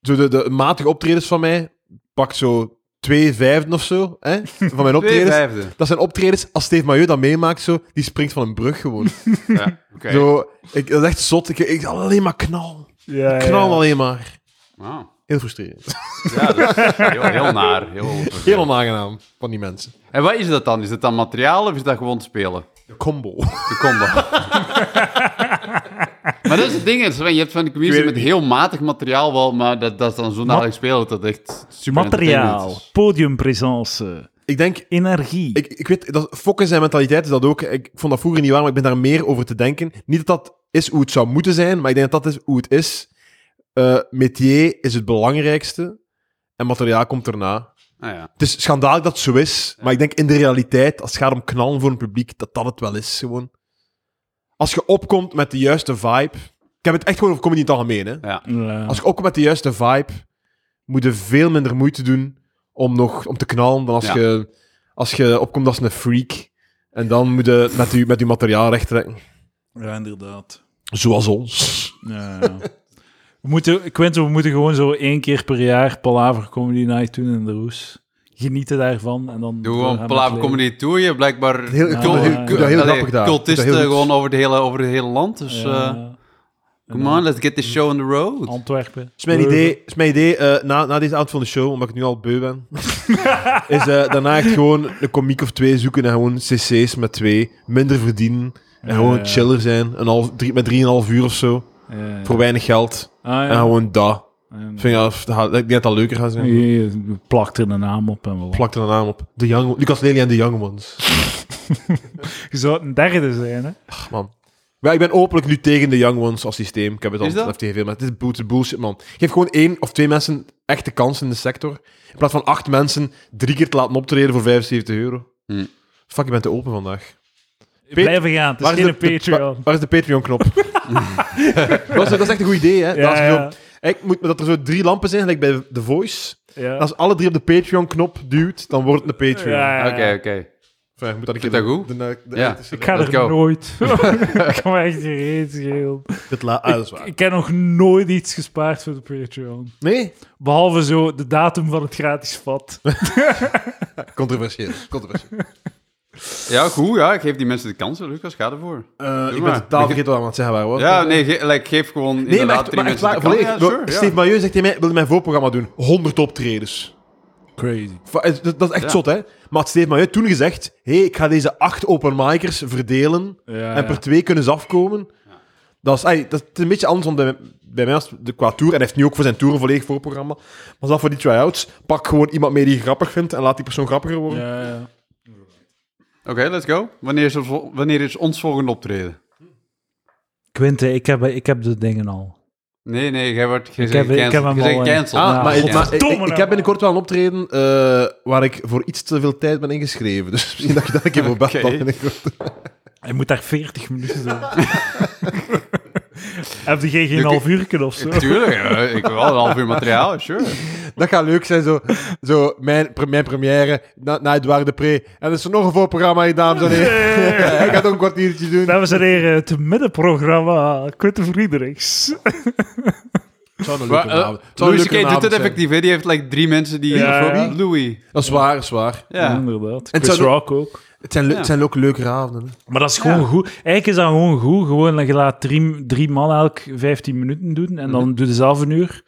zo de, de matige optredens van mij... Pak zo twee vijfden of zo hè, van mijn
Twee
optredens.
vijfde.
Dat zijn optredens, als Steve Maillot dat meemaakt, zo, die springt van een brug gewoon.
Ja, oké.
Zo, ik, dat is echt zot. Ik, ik alleen maar knal.
Ja,
Knal alleen maar.
Wow.
Heel frustrerend.
Ja, dat is heel, heel naar. Heel
Heel onaangenaam van die mensen.
en wat is dat dan? Is dat dan materiaal of is dat gewoon spelen?
De combo.
De combo. maar dat is het ding, Sven. Je hebt van de community
Ik weet
met
het
heel matig materiaal wel, maar dat, dat is dan zo'n aardig spelen dat het echt super
Materiaal,
entertainend is.
podiumpresence,
Ik denk,
energie.
ik, ik weet, dat, fokken zijn mentaliteit is dat ook. Ik vond dat vroeger niet waar, maar ik ben daar meer over te denken. Niet dat dat is hoe het zou moeten zijn, maar ik denk dat dat is hoe het is. Eh, métier is het belangrijkste en materiaal komt erna.
Ah, ja.
Het is schandalig dat het zo is, maar ik denk in de realiteit, als het gaat om knallen voor een publiek, dat dat het wel is gewoon. Als je opkomt met de juiste vibe. Ik heb het echt gewoon over comedy in het algemeen, hè.
Ja.
Ja.
Als ik ook met de juiste vibe moet je veel minder moeite doen om, nog, om te knallen dan als,
Ja.
je, als je opkomt als een freak. En dan moet je met je, met je materiaal recht trekken.
Ja, inderdaad.
Zoals ons.
Ja, ja. we moeten, Quinten, we moeten gewoon zo één keer per jaar Palaver Comedy Night doen in de Roes. Genieten daarvan en dan...
Doe gewoon
gaan
Palaver
we
Comedy Tour. Je hebt blijkbaar
Heel- ik
vind dat heel- ik vind dat
heel
Allee,
grappig daar. Ik
cultisten
vind dat heel goed.
gewoon over, de hele, over het hele land. Dus
play.
eh
Ja. En
come
dan
on, let's get this show on the road.
Antwerpen.
Is mijn idee, is mijn idee eh, na, na deze avond van de show, omdat ik nu al beu ben, is eh, daarna echt gewoon een komiek of twee zoeken en gewoon cc's met twee. Minder verdienen. En
Ja,
gewoon
ja.
chiller zijn. Een half, drie, met drieënhalf uur of zo.
Leuven. Ja.
Voor weinig geld.
Ah,
En
ja.
gewoon dat.
En-
Vind ik, dat- dat, ik denk dat dat leuker gaat zijn.
Je plakt er een naam op en wat.
plakte een naam op. De young, Lucas Lely en de Young Ones.
Je zou een derde zijn, hè?
Ach, man. Maar ik ben openlijk nu tegen de Young Ones als systeem. Ik heb het al
Is dat?
op tv maar het is bullshit, bullshit, man. Geef gewoon één of twee mensen echte kans in de sector. In plaats van acht mensen drie keer te laten optreden voor 75 euro.
Hm.
Fuck, je bent te open vandaag. Pe-
Blijven gaan, het is geen
de,
Patreon.
waar- waar is de Patreon-knop? dat, is, dat is echt een goed idee, hè? dat,
ja,
is zo-
ja,
Ik moet, dat er zo drie lampen zijn, gelijk bij The Voice.
ja.
Als alle drie op de Patreon-knop duwt, dan wordt het een Patreon.
Ja, ja,
Oké,
ja.
oké.
Enfin, je moet dat een
Vind
keer
dat goed?
de- de- de-
Ja.
de-
Ik ga
Let's
er
go.
nooit. ik kan me echt geen reet schelen.
Dit la- ah, dat is waar.
Ik heb nog nooit iets gespaard voor de Patreon.
Nee?
Behalve zo de datum van het gratis vat.
Controversieel. Controversieel.
Ja, goed. Ja, geef die mensen de kans. Lucas, ga ervoor.
ik ben
maar.
totaal vergeten wat we aan het zeggen waren. hoor.
Ja, nee, ge- like, geef gewoon
nee maar
inderdaad
echt,
drie
maar echt
mensen
waar,
de kans.
volledig.
Ja, sure, ja.
Steve Mailleu zegt tegen mij, wilde mijn voorprogramma doen. 100 optredens.
Crazy.
Va- is- Dat, dat is echt
Ja.
zot, hè? Maar had Steve Mailleu toen gezegd, hé, hey, ik ga deze acht openmikers verdelen
Ja,
en per twee kunnen ze afkomen. Dat is, ai, dat is een beetje anders dan bij, bij mij als de, qua tour. En hij heeft nu ook voor zijn tour een volledig voorprogramma. Maar zelfs voor die try-outs, pak gewoon iemand mee die je grappig vindt en laat die persoon grappiger worden.
ja, ja.
Oké, let's go. Wanneer is, ons vol- wanneer is ons volgende optreden?
Quinte, ik heb, ik heb de dingen al.
Nee, nee, jij wordt je
Ik
zegt
heb- ik heb
gecanceld.
hem
Je
al,
zegt
eh.
cancel.
Ah,
Ja,
maar,
godverdomme,
maar ik, ik- ik
nou.
heb binnenkort wel een optreden eh, waar ik voor iets te veel tijd ben ingeschreven. Dus misschien dat je daar een keer voor belt.
Oké.
dan binnenkort.
Hij moet daar 40 minuten zijn. heb je geen half uur of zo?
Tuurlijk, eh, ik wil wel een half uur materiaal, sure.
Dat gaat leuk zijn, zo, zo mijn, pre- mijn première na, na Edouard de Pre. En er is nog een voorprogramma, hier, dames en heren. ik ga nog een kwartiertje doen.
Dames en heren, het middenprogramma Quinte Friedrichs.
Het zou een
Maar,
leuke
eh,
avond- het zou een leuke
Louis C.K. doet
avond
het
zijn.
effectief. hè. Die heeft like drie mensen die...
Ja,
voor
ja.
wie? Louis.
Dat is waar, dat is waar.
Ja,
Ja.
inderdaad.
En het
Chris
zou-
Rock ook.
Het zijn, le-
Ja.
het zijn ook leuke avonden. hè.
Maar dat is gewoon
Ja.
goed. Eigenlijk is dat gewoon goed. Gewoon, je laat drie, drie man elk 15 minuten doen en
Mhm.
dan doe je zelf een uur.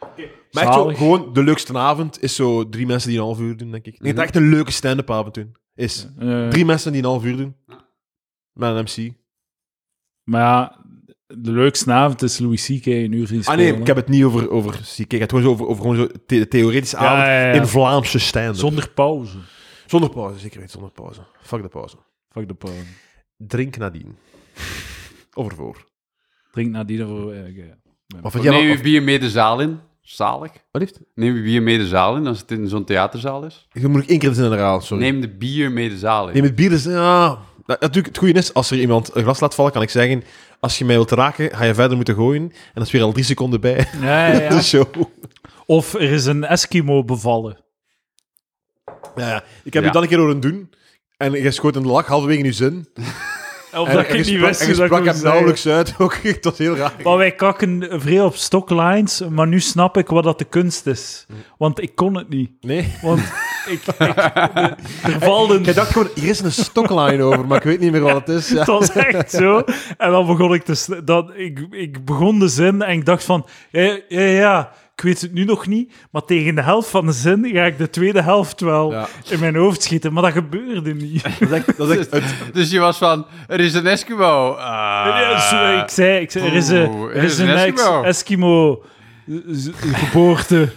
Maar echt zo,
Zalig.
gewoon de leukste avond is zo drie mensen die een half uur doen, denk ik. Ik denk dat echt een leuke stand-up avond doen. Is
Eh,
drie mensen die een half uur doen. Met een MC.
Maar ja, de leukste avond is Louis C.K. een uur zien
Ah nee, ik heb het niet over, over CK. Ik heb het gewoon zo over, over gewoon zo the- de theoretische
Ja,
avond
ja, ja.
in Vlaamse stand
Zonder pauze.
Zonder pauze, zeker weten. Zonder pauze. Fuck de pauze.
Fuck de pauze.
Drink nadien. Of ervoor.
Drink nadien ervoor. eh, oké.
Of
Of
jij
neem
wel-
je bier mee de zaal in. Zalig.
Wat heeft?
Neem je bier mee de zaal in als het in zo'n theaterzaal is.
Ik moet ik één keer de zin herhalen, sorry.
Neem de bier mee de zaal in.
Nee, met bier is... Ja, dat- natuurlijk, het goede is, als er iemand een glas laat vallen, kan ik zeggen... Als je mij wilt raken, ga je verder moeten gooien. En dat is weer al drie seconden bij
Ja, ja, ja.
de show.
Dus- Of er is een Eskimo bevallen.
Ja, ja. Ik heb
Ja.
je dan een keer horen doen. En je schoot een lach halverwege in je zin.
Of
en,
dat
en
ik
je
niet
sprak-
wist
en je
hoe dat
sprak
ik
hem
moest
nauwelijks uit. Ook, het was heel raar.
zeggen. Maar wij kakken vrij op
Mm.
stocklines, maar nu snap ik wat dat de kunst is. Want ik kon het niet.
Nee.
Want Ik, ik, er valden...
Jij dacht gewoon, hier is een stoklijn over, maar ik weet niet meer wat het is. Ja.
Het was echt zo. En dan begon ik te... s- Dat, ik, ik begon de zin en ik dacht van... Ja, ja, ja, ik weet het nu nog niet, maar tegen de helft van de zin ga ik de tweede helft wel
Ja.
in mijn hoofd schieten. Maar dat gebeurde niet.
Dat is echt, dat is echt het-
Dus je was van, er is een Eskimo. Ah.
Ja, zo, ik zei, ik zei er is een,
Oeh,
er is een Eskimo. Eskimo eh, z- geboorte.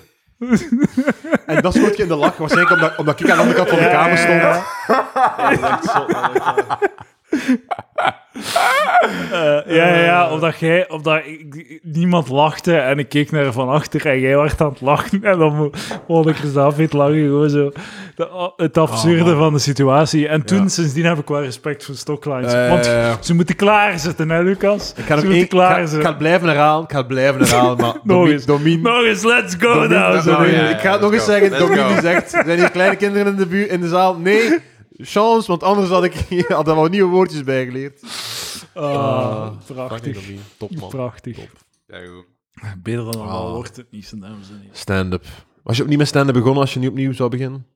En dat schoot je in de lach, waarschijnlijk omdat, omdat ik aan de andere kant van de
Ja,
kamer stond.
ja, Eh, ja, ja, ja, omdat jij, omdat ik- ik- niemand lachte en ik keek naar van achter en jij werd aan het lachen en dan mo- mocht ik er zelf niet lachen, gewoon zo. De- oh, het absurde van de situatie. En toen,
Ah, Ja.
sindsdien heb ik wel respect voor stocklines.
Eh,
want
ja, ja.
ze moeten klaarzitten, hè, Lucas?
Ik ga,
ze
hem één-
moeten
ik ga, ik
klaarzitten.
ga het blijven herhalen, ik ga het blijven herhalen, maar Domien...
eens.
Domien-
Nog eens, let's go
Domien-
now. zo.
nou, ja,
ik ga het
let's
nog eens
go.
zeggen,
Let's
Domien
go.
die zegt, zijn hier kleine kinderen in de, buurt, in de zaal? Nee, chance, want anders had ik had er wel nieuwe woordjes bij geleerd.
Ah,
Ah,
prachtig.
Domien, top
Prachtig.
Ja, goed.
Beter dan normaal
Ah.
wordt het niet, zijn dames en heren.
Stand-up. Was je opnieuw met stand-up begonnen als je nu opnieuw zou beginnen?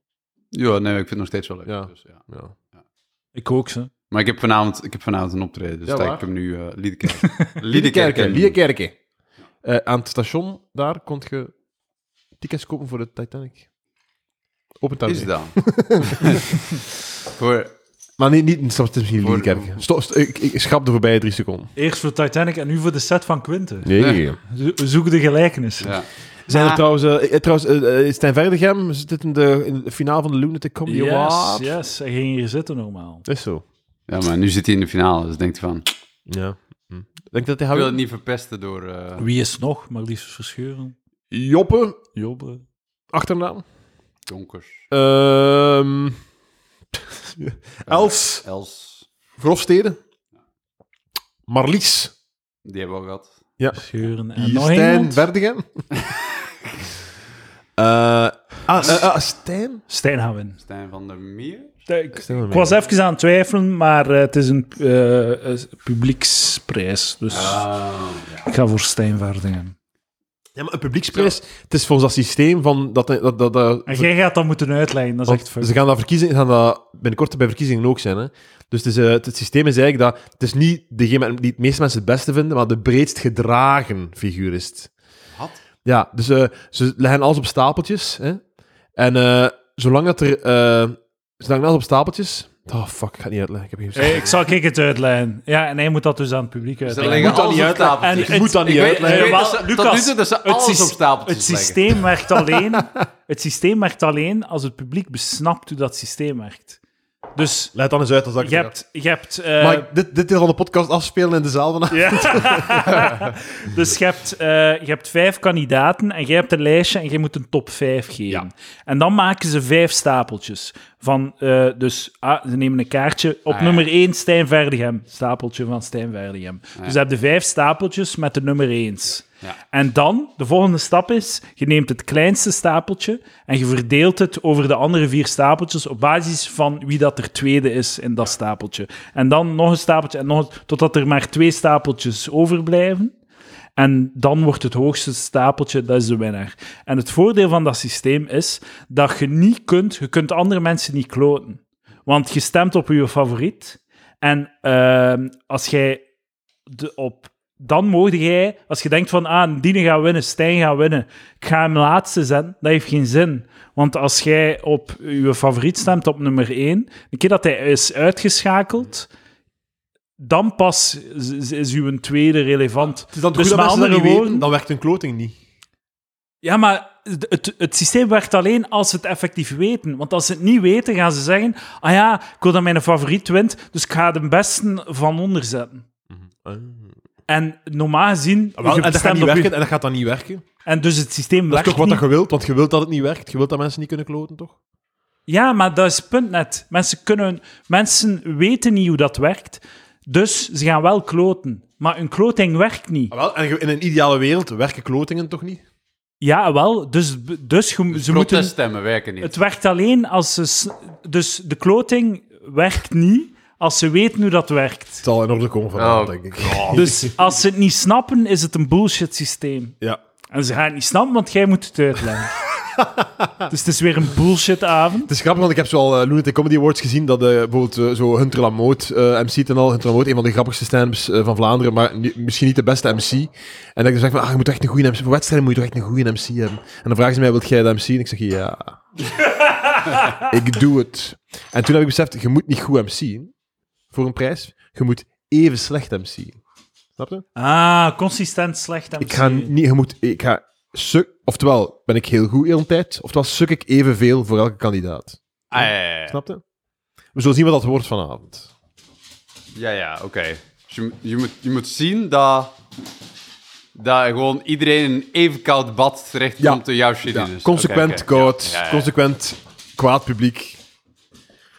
Ja, nee, ik vind het nog steeds wel leuk.
Ja.
dus ja.
Ja.
Ik ook, ze.
Maar ik heb vanavond, ik heb vanavond een optreden, dus
Ja,
dat
waar?
ik hem nu eh Liedekerk. Liedekerk.
Liedekerken. Eh, aan het station daar kon je tickets kopen voor de Titanic. Op het
Is
Titanic.
dan. Voor,
Maar nee, niet, stop, het is misschien
Voor-
Liedekerken. Stop, st- ik, ik schrap de voorbije drie seconden. Eh.
Eerst voor Titanic en nu voor de set van Quinten.
Nee.
Nee.
Zo- Zoek de gelijkenissen.
ja.
Zijn er
Ah.
trouwens, eh, eh, trouwens eh, eh, Stijn Verdegem zit in de, in de finale van de Lunatic Comedy
Yes,
Award.
yes. Hij ging hier zitten normaal.
Dat is zo.
ja, maar nu zit hij in de finale, dus denkt hij van, ik
Ja. Hm. Denk dat hij
wil
houdt?
het niet verpesten door... eh,
Wie is nog? Maar liefst verscheuren.
Joppe,
Jobbe.
achternaam.
Donkers.
Ehm Els,
Els.
Grofstede. Marlies.
Die hebben we al gehad.
Verscheuren. En nog
Stijn
iemand?
Verdegem. Eh, ah, eh, ah, Stijn?
Stijn gaan winnen.
Stijn van der Meer.
Ik,
Stijn
ik was even aan het twijfelen, maar eh, het is een eh, eh, publieksprijs. Dus
Ah.
Ah.
ik ga voor Stijn Verdingen.
Ja, maar een publieksprijs, het is volgens dat systeem van... Dat, dat, dat, dat,
En jij gaat dat moeten uitleggen. Dat is
Want
echt fuck.
Ze gaan dat, verkiezingen, gaan dat binnenkort bij verkiezingen ook zijn. Hè? Dus het, is, eh, het, het systeem is eigenlijk dat het is niet degene die het meeste mensen het beste vinden, maar de breedst gedragen figuur is. het.
Wat?
Ja, dus eh, ze leggen alles op stapeltjes. Hè? En eh, zolang dat er. eh ze leggen alles op stapeltjes. Oh fuck, ik ga het niet uitleggen. Ik heb geen
Eh, ik zal ik het uitleggen. Ja, en hij moet dat dus aan het publiek
Ze
uitleggen.
leggen
moet dat
alles
niet
op
uitleggen.
stapeltjes.
En het-
moet dat niet
Ik weet-
uitleggen.
ik weet
Eh,
dat
wel,
ze-
Lucas,
tot nu toe dat ze
het
alles
sys-
op stapeltjes
Het
leggen.
systeem werkt alleen... Het systeem werkt alleen als het publiek besnapt hoe dat systeem werkt. Dus
Let dan eens uit als dat ik
je
het
hebt... Je hebt eh,
zeg. Maar ik- dit, dit deel van de podcast afspelen in de zaal vanavond.
ja. dus je hebt, eh, je hebt vijf kandidaten en jij hebt een lijstje en jij moet een top vijf geven. En dan maken ze vijf stapeltjes. Van, eh, dus ah, ze nemen een kaartje. Op
Ah, ja.
nummer één Stijn Verdegem. Stapeltje van Stijn Verdegem. Dus je hebt de vijf stapeltjes met de nummer eens.
Ah, Ja.
En dan, de volgende stap is, je neemt het kleinste stapeltje en je verdeelt het over de andere vier stapeltjes op basis van wie dat er tweede is in dat stapeltje. En dan nog een stapeltje en nog een, totdat er maar twee stapeltjes overblijven. En dan wordt het hoogste stapeltje, dat is de winnaar. En het voordeel van dat systeem is dat je niet kunt, je kunt andere mensen niet kloten. Want je stemt op je favoriet. En ehm, als jij de, op, dan mocht jij, als je denkt van, ah, Dine gaat winnen, Stijn gaat winnen, ik ga hem laatste zetten, dat heeft geen zin. Want als jij op je favoriet stemt op nummer 1, de keer dat hij is uitgeschakeld, dan pas is- is, is uw tweede relevant.
Het is dan
Dus
goed dat
met
mensen dat
andere
niet weten,
woorden-
dan werkt een kloting niet.
Ja, maar het, het, het systeem werkt alleen als ze het effectief weten. Want als ze het niet weten, gaan ze zeggen: Ah ja, ik wil dat mijn favoriet wint, dus ik ga de beste van onder zetten.
Ah.
En normaal gezien.
Wel,
je
en, dat gaat
stemt
niet
op je-
werken, en dat gaat dan niet werken.
en dus het systeem
Dat is
werkt.
toch wat
niet.
dat je wilt, want je wilt dat het niet werkt. Je wilt dat mensen niet kunnen kloten, toch?
Ja, maar dat is het punt net. Mensen, kunnen, mensen weten niet hoe dat werkt, dus ze gaan wel kloten. Maar hun kloting werkt niet.
Ah, Wel, en ge- in een ideale wereld werken klotingen toch niet?
Ja, wel. Dus, dus ge- ze moeten.
Proteststemmen werken niet.
Het werkt alleen als ze. s- Dus de kloting werkt niet als ze weten hoe dat werkt.
Het zal in orde komen
Oh,
vanavond, denk ik.
Dus als ze het niet snappen, is het een bullshit systeem.
Ja.
En ze gaan het niet snappen, want jij moet het uitleggen. Dus het is weer een bullshitavond.
Het is grappig, want ik heb zoal eh, Lunatic Comedy Awards gezien dat eh, bijvoorbeeld eh, zo Hunter Lamoot eh MC en al. Hunter Lamoot, een van de grappigste stand-ups eh, van Vlaanderen, maar ni- misschien niet de beste MC. En dat ik dus zeg van, ah, je moet echt een goede MC... Voor wedstrijden moet je toch echt een goede MC hebben. En dan vragen ze mij, wilt jij de MC? En ik zeg, ja. ik doe het. En toen heb ik beseft, je moet niet goed MC'en voor een prijs. Je moet even slecht MC'en. Snap je?
Ah, consistent slecht MC.
Ik ga niet, je moet, ik ga suk, oftewel ben ik heel goed heel een tijd, oftewel suk ik evenveel voor elke kandidaat.
Ah, ja, ja, ja.
Snap je? We zullen zien wat dat wordt vanavond.
Ja, ja, oké. Dus je, je, moet, je moet zien dat, dat gewoon iedereen in een even koud bad terechtkomt
Ja.
komt door jouw shit. in is.
consequent
Oké, oké.
koud,
Ja, ja, ja.
consequent kwaad publiek.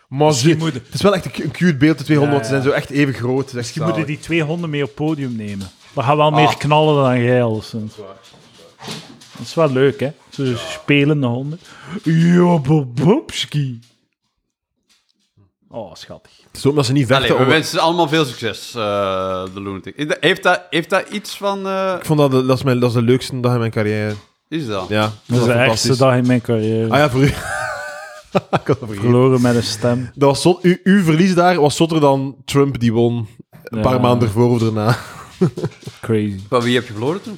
Maar
Misschien
ze-
moet-
het is wel echt een cu- een cute beeld, de twee honden,
Ja,
want ze zijn zo echt even groot.
Je moet die twee honden mee op het podium nemen. We gaan wel
Ah.
meer knallen dan jij, alleszins. Dat is wel leuk, hè? Zo'n spelende honden. Jobobobski. Oh, schattig.
Zo omdat ze niet
Allee,
vechten.
we
over-
wensen ze allemaal veel succes, eh, de Lunatic. Is dat- Heeft dat, heeft dat iets van... eh,
Ik vond dat, de- dat, is mijn, dat is de leukste dag in mijn carrière.
is dat?
Ja, ik vond
Dat is de ergste
fantastisch.
dag in mijn carrière.
Ah ja, voor u. Ik had dat vergeten.
Verloren met een stem.
Dat was zot, uw, uw verlies daar was zotter dan Trump die won een
Ja.
paar maanden ervoor of daarna.
Crazy.
Van wie heb je verloren toen?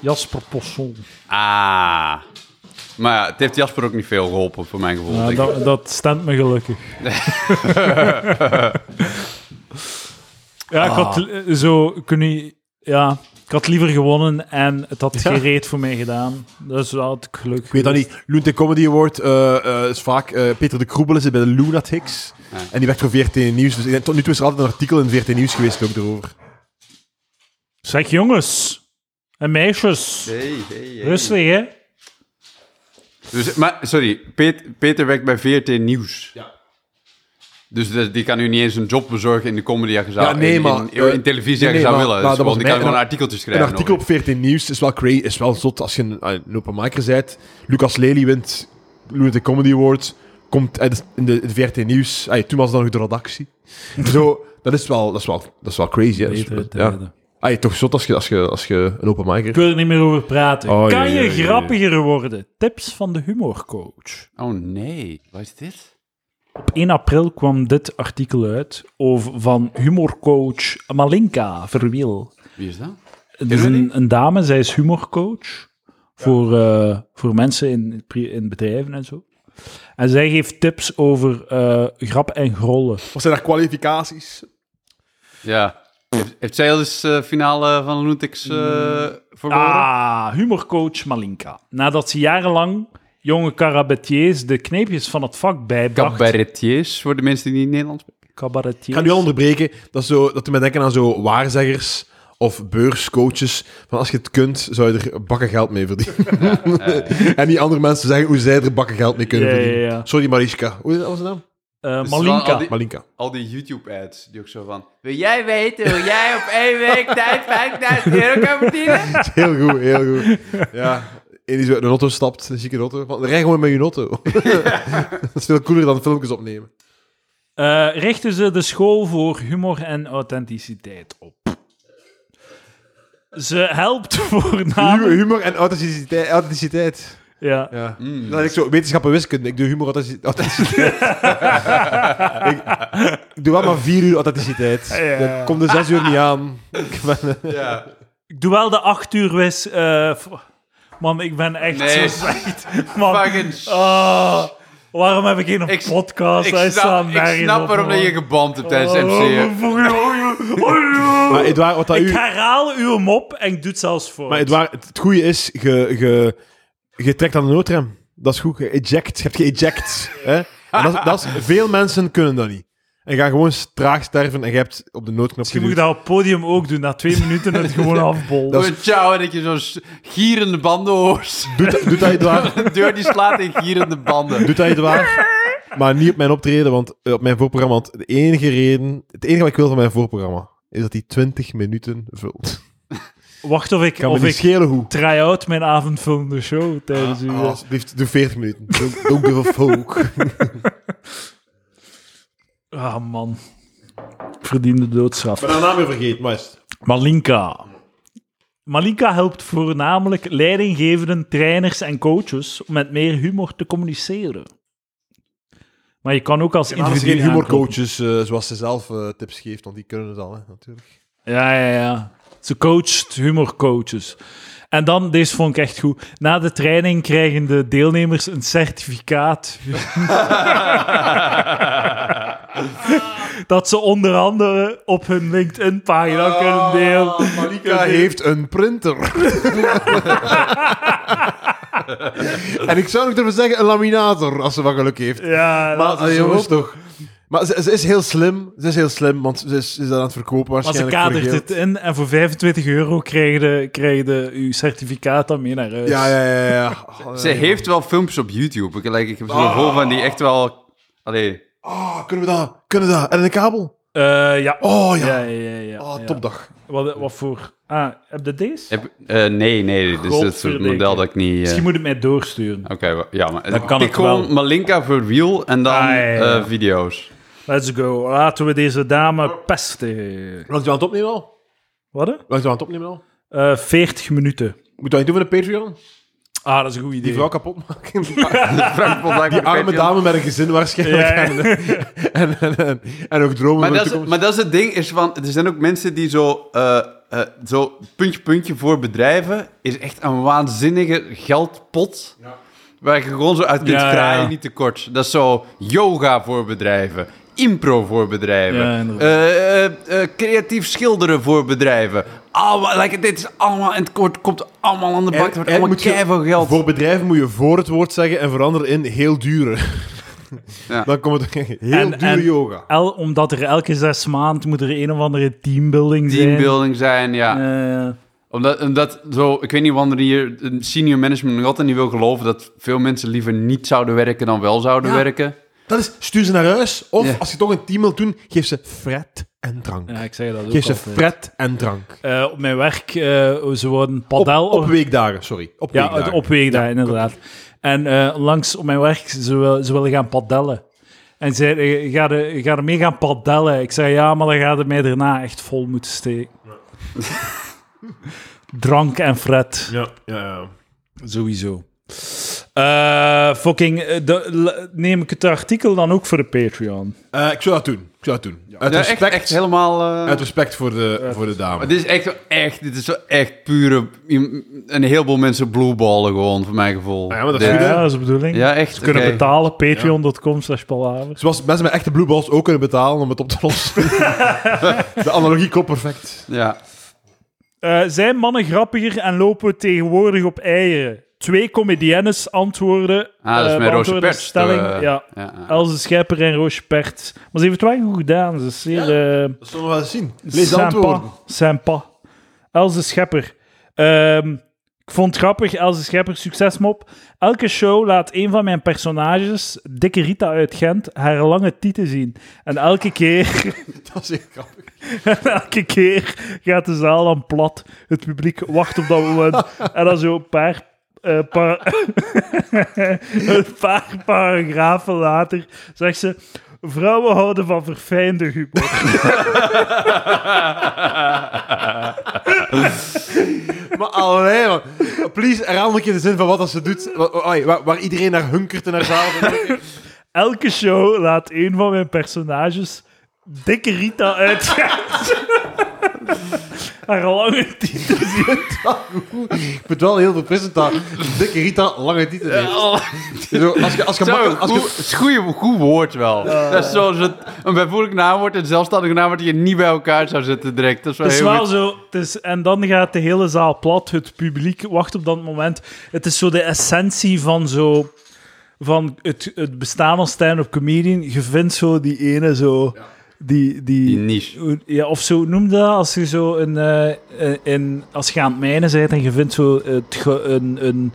Jasper Posson.
Ah. Maar ja, het heeft Jasper ook niet veel geholpen, voor mijn gevoel.
Ja,
denk ik.
Ah, dat, dat stemt me gelukkig. ja, ik
Ah.
had li- zo kun je, ja, ik had liever gewonnen en het had
Ja.
geen reet voor mij gedaan. Dus dat had ik geluk.
Ik weet dat niet. Lunte Comedy Award eh, eh, is vaak... eh, Peter de Kroebelen zit bij de Lunatics. En die werkt voor VRT Nieuws. Dus ik denk, tot nu toe is er altijd een artikel in VRT Nieuws geweest ook erover.
Zeg jongens en meisjes,
Hey, hey, hey.
rustig hè.
Dus, maar, sorry, Peet- Peter werkt bij VRT Nieuws. Ja. Dus dat- die kan nu niet eens een job bezorgen in de comedy dat je zou,
Ja, nee,
in-
maar,
in, in,
eh,
televisie
nee,
dat je
nee,
zou
maar-
willen.
maar
Dus
dat
gewoon,
was
die kan
mijn-
gewoon artikeltjes
Een
schrijven.
artikel op
over.
VRT Nieuws is wel, cra- is wel zot als je een, ah, een open micer bent. Lucas Lely wint Lunate Comedy Award. Komt uit in de, in de VRT Nieuws. Ah, ja, toen was het dan nog de redactie. Zo, dat is wel, dat is wel, dat is wel crazy. Hè? Dat is-
Betere
ja.
tijden.
Ah, ja, toch zot als je, als je, als je een open micer...
Ik wil er niet meer over praten.
Oh,
kan
jee,
je
jee, jee.
grappiger worden? Tips van de humorcoach.
Oh nee, wat is dit?
Op 1 april kwam dit artikel uit over, van humorcoach Malinka Verwiel.
Wie is dat?
Het is
we
een,
die?
een dame, zij is humorcoach voor, eh, voor mensen in, pri- in bedrijven en zo. En zij geeft tips over eh, grap en grollen.
Wat zijn daar kwalificaties?
Ja. Heeft- Heeft zij al eens eh, finale van Lunatics eh
Mm.
verloren?
Ah, humorcoach Malinka. Nadat ze jarenlang jonge cabaretiers de kneepjes van het vak bijbracht.
Cabaretiers, voor de mensen die niet Nederlands spreken.
Ik
cabaretiers.
ga nu al onderbreken. Dat, is zo, dat doet mij denken aan zo waarzeggers of beurscoaches. Van als je het kunt, zou je er bakken geld mee verdienen. en die andere mensen zeggen hoe zij er bakken geld mee kunnen
Ja, ja,
verdienen.
ja.
Sorry Mariska. Hoe was de naam?
Eh,
Dus wel
Malinka.
al die-
Malinka.
Al die YouTube-ads, die ook zo van... Wil jij weten hoe jij op één week tijd 5000 euro kan verdienen?
Heel goed, heel goed. Ja. En die zo uit een auto stapt, een zieke auto. Van, rij gewoon met je auto. dat is veel cooler dan filmpjes opnemen.
Eh, richten ze de school voor humor en authenticiteit op. Ze helpt
Humor,
voornamelijk...
humor en authenticiteit. authenticiteit.
Ja.
Ja. Dan had ik zo wetenschap en wiskunde. Ik doe humor authentici- authenticiteit. ik, ik doe wel maar vier uur authenticiteit.
Ja.
Dat komt er zes uur niet aan. Ik ben-
Ja.
Ik doe wel de acht uur wis... eh, f- man, ik ben echt zo
Nee.
slecht. Man,
Fucking... s-
ah, waarom heb ik geen
Ik-
podcast? Hij
Ik
staat
snap, ik
nergens
snap
op,
waarom
man.
dat je geband hebt tijdens
Oh,
MC'en.
voor- oh, oh,
Maar
oh.
Edouard, wat dat
Ik
u...
herhaal uw mop en ik doe het zelfs voor.
Maar Edouard, het, het goede is, je, je, je trekt aan de noodrem. Dat is goed. Je eject. Je hebt geëject. hè? En dat, is- dat is, veel mensen kunnen dat niet. En gaan gewoon traag sterven en je hebt op de noodknop
Misschien moet ik
geduwd.
dat op het podium ook doen. Na twee minuten het gewoon afbollen.
Dat is-
Doe een ciao en dat je zo'n s- gierende banden hoort.
Doet dat, doet dat Edouard.
De deur die slaat in gierende banden.
Doet dat je het waar? Maar niet op mijn optreden, want eh, op mijn voorprogramma. Want de enige reden, het enige wat ik wil van mijn voorprogramma is dat hij 20 minuten vult.
Wacht of ik,
Kan
of
me niet
ik
schelen hoe.
try-out mijn avondvullende show tijdens uw...
Ah, alsjeblieft, doe 40 minuten. Don't, don't give a fuck.
Ah, man. Ik verdien de doodstraf.
haar naam weer vergeten, maar
Malinka. Malika helpt voornamelijk leidinggevenden, trainers en coaches om met meer humor te communiceren. Maar je kan ook als
Maar als
individu.
geen
aankloppen.
humorcoaches eh, zoals ze zelf eh, tips geeft, want die kunnen het al, hè, natuurlijk.
Ja, ja, ja. Ze coacht humorcoaches. En dan, deze vond ik echt goed. Na de training krijgen de deelnemers een certificaat. dat ze onder andere op hun LinkedIn-pagina kunnen delen.
Malika heeft een printer. en ik zou nog durven zeggen, een laminator, als ze wat geluk heeft.
Ja,
Maar
dat is
eh,
zo.
jongens, toch. Maar ze, ze is heel slim. Ze is heel slim, want ze is, ze is dat aan het verkopen
Maar ze
waarschijnlijk. voor
kadert
geld.
het in en voor 25 euro krijg je, krijg je uw certificaat dan mee naar huis.
Ja, ja, ja. ja. Oh,
Ze
ja.
heeft wel filmpjes op YouTube. Ik, like, ik heb zo'n gevoel van die echt wel... Allee,
Oh, kunnen we dat? Kunnen we dat? En een kabel?
Eh, ja.
Oh, ja.
Ja, ja, ja, ja.
Ah,
ja.
topdag.
Wat, wat voor... Ah, heb je deze?
heb- eh, nee, nee. Dit is het soort
Godverdikke.
model dat ik niet... eh,
Misschien moet het mij doorsturen.
Oké, wa- ja, maar...
Dan kan
ik
het
gewoon
wel.
Malinka voor wiel en dan
Ah, ja, ja, ja.
eh, video's.
Let's go. Laten we deze dame pesten.
Langs je aan het opnemen al?
Wat? hè?
Langs je aan het opnemen al?
Eh 40 minuten.
Moet dat niet doen van de Patreon?
Ah, dat is een goed
Die
idee.
vrouw kapot maken.
Frank Potlaak voor
Die arme
Patreon.
dame met een gezin waarschijnlijk.
Ja,
En, en, en, en ook dromen
Maar
van de
dat, is,
toekomst.
maar dat is het ding, is van, er zijn ook mensen die zo, eh, eh, zo puntje puntje voor bedrijven, is echt een waanzinnige geldpot. Waar je gewoon zo uit kunt
Ja, ja,
kraaien,
ja.
niet tekort. Dat is zo yoga voor bedrijven, impro voor bedrijven,
Ja, inderdaad.
eh, eh, eh, creatief schilderen voor bedrijven. Allemaal, like, dit is allemaal, en het kort komt allemaal aan de bak, het wordt allemaal
Eigenlijk moet je-
keiveel geld.
Voor bedrijven moet je voor het woord zeggen en verander in heel dure.
Ja.
Dan komt het heel
En-
dure
en-
yoga.
El, omdat er elke zes maanden moet er een of andere teambuilding zijn.
Teambuilding zijn, ja.
Eh,
Omdat, omdat zo, ik weet niet wanneer hier een senior management nog altijd niet wil geloven dat veel mensen liever niet zouden werken dan wel zouden
Ja.
werken.
Dat is, stuur ze naar huis. Of
Ja.
als je toch een team wilt doen, geef ze fret en drank.
ja, ik zeg dat ook
geef ze
altijd.
fret en drank.
Eh, op mijn werk, eh ze worden
Op,
padel...
op weekdagen, sorry. Op
Ja,
weekdagen.
het opweeg daar, inderdaad. En eh, langs op mijn werk, ze, wil, ze willen gaan padellen. En ze zei, ga, de, ga er mee gaan padellen. Ik zei, ja, maar dan gaat het mij daarna echt vol moeten steken. Drank en fret,
Ja, ja, ja.
sowieso. Eh, fucking, eh, de- l- neem ik het artikel dan ook voor de Patreon?
Eh, ik zou dat doen. Ik zou dat doen. Uit,
Ja, echt,
respect,
echt helemaal. eh,
uit respect voor de, voor de dame.
maar dit is echt, echt, dit is zo echt pure. mm, Een heleboel mensen blueballen gewoon, voor mijn gevoel.
Ah ja, maar dat is
Dit-
Ja,
goed, hè?
dat is de bedoeling.
Ja, echt.
Ze kunnen
oké.
betalen, patreon.com slash palaver.
Zoals mensen met echte blue balls ook kunnen betalen om het op te lossen. de analogie klopt perfect.
Ja.
Eh, zijn mannen grappiger en lopen we tegenwoordig op eieren? Twee comediennes antwoorden.
Ah, dat is
eh,
met Roosje
beantwoorden de
Perts.
Stelling,
eh,
ja.
ja.
Elze Schepper en Roosje Perts. Maar ze heeft het wel goed gedaan. Ze is zeer... eh,
Dat zullen we wel eens zien. Lees de
sympa,
antwoorden.
sympa. Elze Schepper. Ehm, ik vond het grappig, Elze Schepper, succesmop. Elke show laat een van mijn personages, dikke Rita uit Gent, haar lange tieten zien. En elke keer
Dat is heel grappig.
Elke keer gaat de zaal dan plat. Het publiek wacht op dat moment. En dan zo een paar, eh, par- een paar paragrafen later zegt ze... Vrouwen houden van verfijnde humor.
Maar allee, man. Please, herhaal een keer de zin van wat dat ze doet. Wa- wa- oei, Waar, waar iedereen naar hunkert en naar zaal.
Elke show laat een van mijn personages... Dikke Rita uit. Haar lange titel.
Ik vind wel heel veel presenta. Dikke Rita, lange titel heeft. Zo, als je, als je,
Zo,
makkelijk- als
goed,
je,
is goeie- goed woord wel. Dat is zoals het, een bijvoorbeeld naamwoord, een zelfstandig naamwoord die je niet bij elkaar zou zetten direct. Dat is wel
Het is
heel
wel
goed.
zo. Het is, en dan gaat de hele zaal plat. Het publiek wacht op dat moment. Het is zo de essentie van zo. Van het, het bestaan als stand-up comedian. Je vindt zo die ene zo. Die,
Die
die,
niche.
hoe- ja, of zo noem je dat als je zo een. eh, eh, in, als je aan het mijnen bent en je vindt zo het, ge- een, een,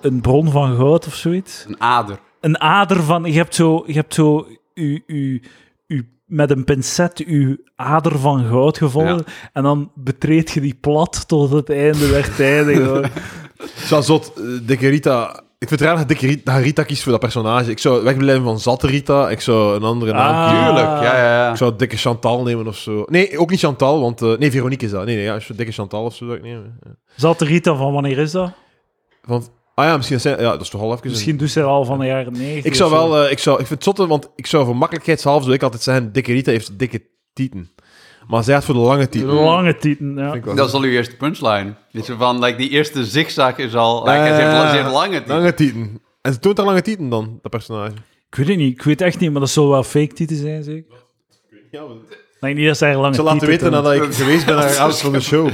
een bron van goud of zoiets
Een ader.
een ader van. Je hebt zo. Je hebt zo u, u, u, met een pincet uw ader van goud gevonden. En dan betreed je die plat tot het einde der tijden. hoor.
Zo zot, eh, Dikke Rita Ik vind het raar dat ik Ri- dat Rita kiest voor dat personage. Ik zou wegblijven van zatte Rita. Ik zou een andere naam
Ah.
kiezen.
Tuurlijk, ja, ja, ja.
Ik zou dikke Chantal nemen of zo. Nee, ook niet Chantal, want... eh, nee, Veronique is dat. Nee, nee, ja, dikke Chantal of zo zou ik nemen. Ja.
Zat de Rita van wanneer is dat?
Want, ah ja, misschien... dat zijn- Ja, dat is toch al even... een-
Misschien doet ze dat al van de jaren 90.
Ik zou wel... eh, ik, zou, ik vind het zotte, want ik zou voor makkelijkheidshalve... Zou ik altijd zeggen, dikke Rita heeft dikke tieten. Maar zij had voor de lange tieten.
Lange tieten, ja.
Vind eh, ik wel.
Dat is al uw eerste punchline. Dit is van, like, die eerste zigzag is al... Like, hij
Eh,
zegt, ze heeft lange titel.
Lange tieten. En ze toont haar lange tieten dan, dat personage.
Ik weet het niet, ik weet echt niet, maar dat zullen wel fake tieten zijn, zeker? Nee, niet dat ze haar lange
Ze
tieten
laten weten
toont.
nadat ik geweest ben naar de avond van de show.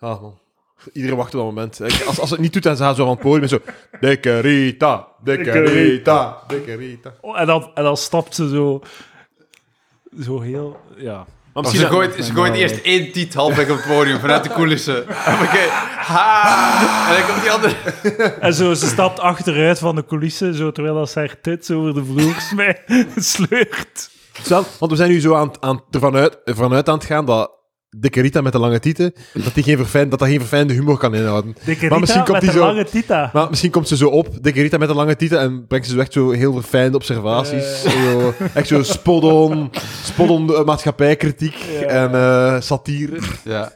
Ah, man. Iedereen wacht op dat moment. Ik- Als, als ze het niet doet, dan gaan ze zo van het podium en zo... Dikke Rita, dikke
Dikke
Rita, dikke Rita.
Oh, en, dan, en dan stapt ze zo... Zo heel... Ja.
Maar
Ze
misschien dat-
gooit, ze gooit eerst één tiet halfweg op het podium vanuit de coulissen. Oké, ha! En dan komt die andere...
En zo, ze stapt achteruit van de coulissen, zo, terwijl dat ze haar tits over de vloer smij- sleurt.
Zelf, want we zijn nu zo aan, het- aan, ervan uit, ervan uit aan het gaan dat dikke Rita met de lange tieten, dat die geen, verfijn, dat dat geen verfijnde humor kan inhouden.
Dikke
Maar misschien
Rita
komt
met
die
een
zo-
lange tita.
Maar misschien komt ze zo op, dikke Rita met de lange tieten, en brengt ze zo echt zo heel verfijnde observaties. Zo, echt zo spot-on, spot-on eh, maatschappijkritiek en eh, satire.
Ja.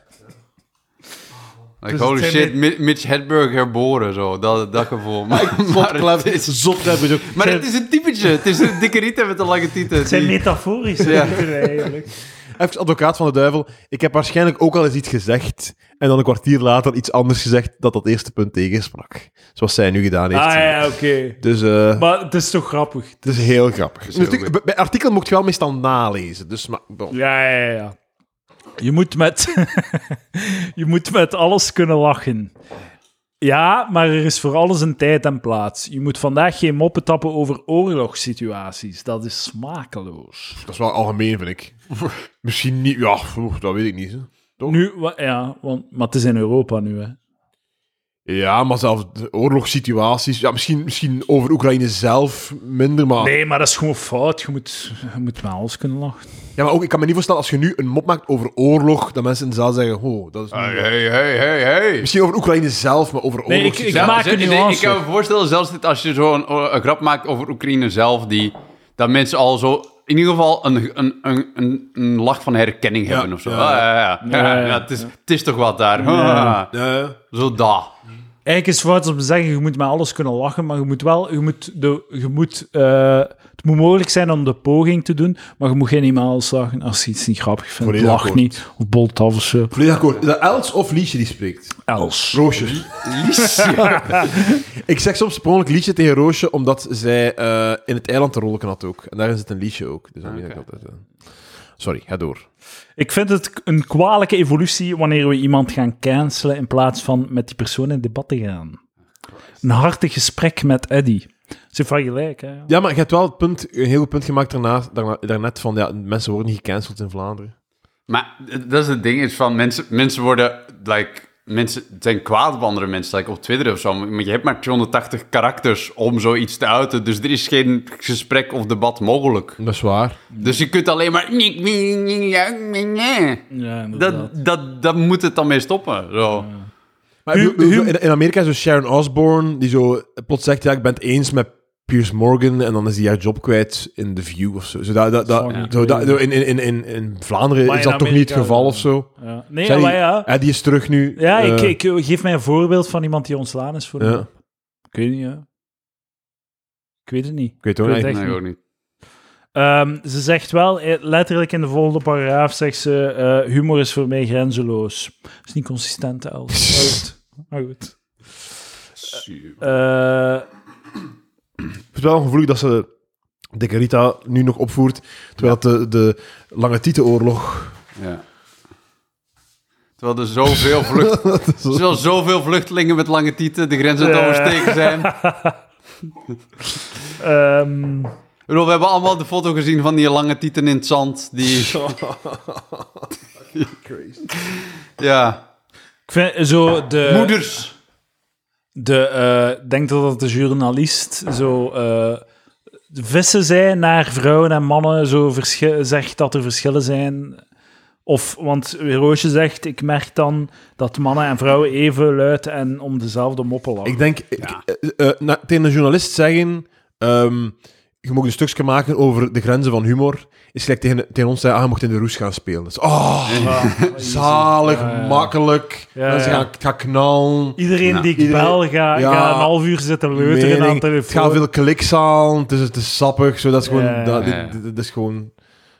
Like,
Dus
holy
het zijn
shit, Mi- Mitch Hedberg herboren, zo. Dat, dat gevoel. Maar,
Zot
maar, het
klep,
is,
zot klep, zo.
maar het is een typetje. Het is een dikke rieten met een lange tieten.
Het zijn
die-
metaforische
Ja.
tieten eigenlijk.
Even advocaat van de duivel. Ik heb waarschijnlijk ook al eens iets gezegd. En dan een kwartier later iets anders gezegd dat dat eerste punt tegensprak. Zoals zij nu gedaan heeft.
Ah ja, oké.
Dus eh,
Maar het is toch grappig.
het is heel grappig.
heel
Natuurlijk, bij- bij artikel mocht je wel meestal nalezen. Dus, maar, bon.
Ja, ja, ja. Je moet met, je moet met alles kunnen lachen. Ja, maar er is voor alles een tijd en plaats. Je moet vandaag geen moppen tappen over oorlogssituaties. Dat is smakeloos.
Dat is wel algemeen, vind ik. Misschien niet... Ja, oeh, dat weet ik niet. Hè. Toch?
Nu, wa- ja, want, maar het is in Europa nu, hè.
Ja, maar zelfs de oorlogssituaties... Ja, misschien, misschien over Oekraïne zelf minder, maar...
Nee, maar dat is gewoon fout. Je moet, je moet met alles kunnen lachen.
Ja, maar ook, ik kan me niet voorstellen, als je nu een mop maakt over oorlog, dat mensen in de zaal zeggen, oh, dat is... niet-
Hey, hey, hey, hey, hey.
Misschien over Oekraïne zelf, maar over
Ah, Nee,
oorlog.
ik maak een
ik-
nuance.
Ik kan me voorstellen, zelfs dit, als je zo'n o- een grap maakt over Oekraïne zelf, die, dat mensen al zo in ieder geval een, een, een, een, een lach van herkenning hebben of zo.
ja.
Ah, Ja, ja, ja.
Ja, ja.
Ja, het, is, het is toch wat daar.
Ja.
Ah, Zo daar.
Eigenlijk is het fout om te zeggen, je moet met alles kunnen lachen, maar je moet wel, je moet, de, je moet, eh, het moet mogelijk zijn om de poging te doen, maar je moet geen eenmaal lachen als je iets niet grappig vindt.
Volledig
Lach
akkoord.
niet, of bolt af of zo.
Volledig akkoord. Is dat Els of Liesje die spreekt?
Els.
Roosje.
Liesje.
Ik zeg soms per ongeluk Liesje tegen Roosje, omdat zij eh, in het eiland een rolken had ook. En daarin zit een Liesje ook. Dus dan
Ah,
weet ik
Oké.
altijd, eh. Sorry, ga door.
Ik vind het k- een kwalijke evolutie wanneer we iemand gaan cancelen in plaats van met die persoon in debat te gaan. Een hartig gesprek met Eddy. Ze van gelijk, hè.
Ja, maar je hebt wel het punt, een heel goed punt gemaakt daarna, daarna, daarnet van, ja, mensen worden niet gecanceld in Vlaanderen.
Maar dat is het ding, is van mensen, mensen worden, like, mensen zijn kwaad op andere mensen, like op Twitter of zo. Maar je hebt maar 280 karakters om zoiets te uiten, dus er is geen gesprek of debat mogelijk.
Dat is waar.
Dus je kunt alleen maar...
Ja, inderdaad.
Dat, dat, dat moet het dan mee stoppen. Zo.
Maar
Hu-
ik bedoel,
hu-
in, in Amerika is zo Sharon Osbourne, die zo plots zegt, ja, ik ben het eens met Piers Morgan, en dan is die haar job kwijt in The View of zo. Zo dat, dat, dat,
Fucking
zo dat-
crazy.
in, in, in, in, in Vlaanderen
Maar
is
in
dat toch niet het
Amerika,
geval
ja.
of zo?
Ja. Nee,
Zijn die-
maar ja.
Ja, die is terug nu.
Ja,
Eh,
ik, ik geef mij een voorbeeld van iemand die ontslaan is voor
ja.
Ik weet niet, ja. Ik weet het niet.
Ik weet het
Ik
ook
weet
niet.
Echt niet.
nee, ook niet.
Ehm, ze zegt wel, eh, letterlijk in de volgende paragraaf zegt ze, eh, humor is voor mij grenzeloos. Dat is niet consistent, Els. Maar goed. Maar goed. Eh,
Ik vind het wel gevoelig dat ze Dikke Rita nu nog opvoert, terwijl het de, de lange titenoorlog...
Ja. Terwijl er zoveel, vlucht, terwijl zoveel vluchtelingen met lange tieten de grenzen te
Ja.
oversteken zijn. Ik
ehm,
bedoel, we hebben allemaal de foto gezien van die lange tieten in het zand. Die, ja.
ik vind zo de...
Moeders.
De, eh, ik denk dat dat de journalist zo... eh, vissen zij naar vrouwen en mannen, zo verschi- zegt dat er verschillen zijn Of, want Roosje zegt, ik merk dan dat mannen en vrouwen even luid en om dezelfde moppen lachen.
Ik denk, ik, eh, eh, na- tegen een journalist zeggen, ehm, je mag een stukje maken over de grenzen van humor, is gelijk tegen, tegen ons zeggen, ah, je mocht in de roes gaan spelen. Dus, oh, zalig,
Ja, ja.
makkelijk,
Ja,
mensen
ja.
gaan, gaan knallen.
Iedereen
Nou,
die ik
iedereen-
bel, ga,
ja,
ga een half uur zitten leuteren aan de
mening. Het
telefoon.
gaat veel kliks aan, het is, het is sappig, zo, dat is gewoon,
Ja, ja,
dat,
ja.
dit- dit- dit is gewoon,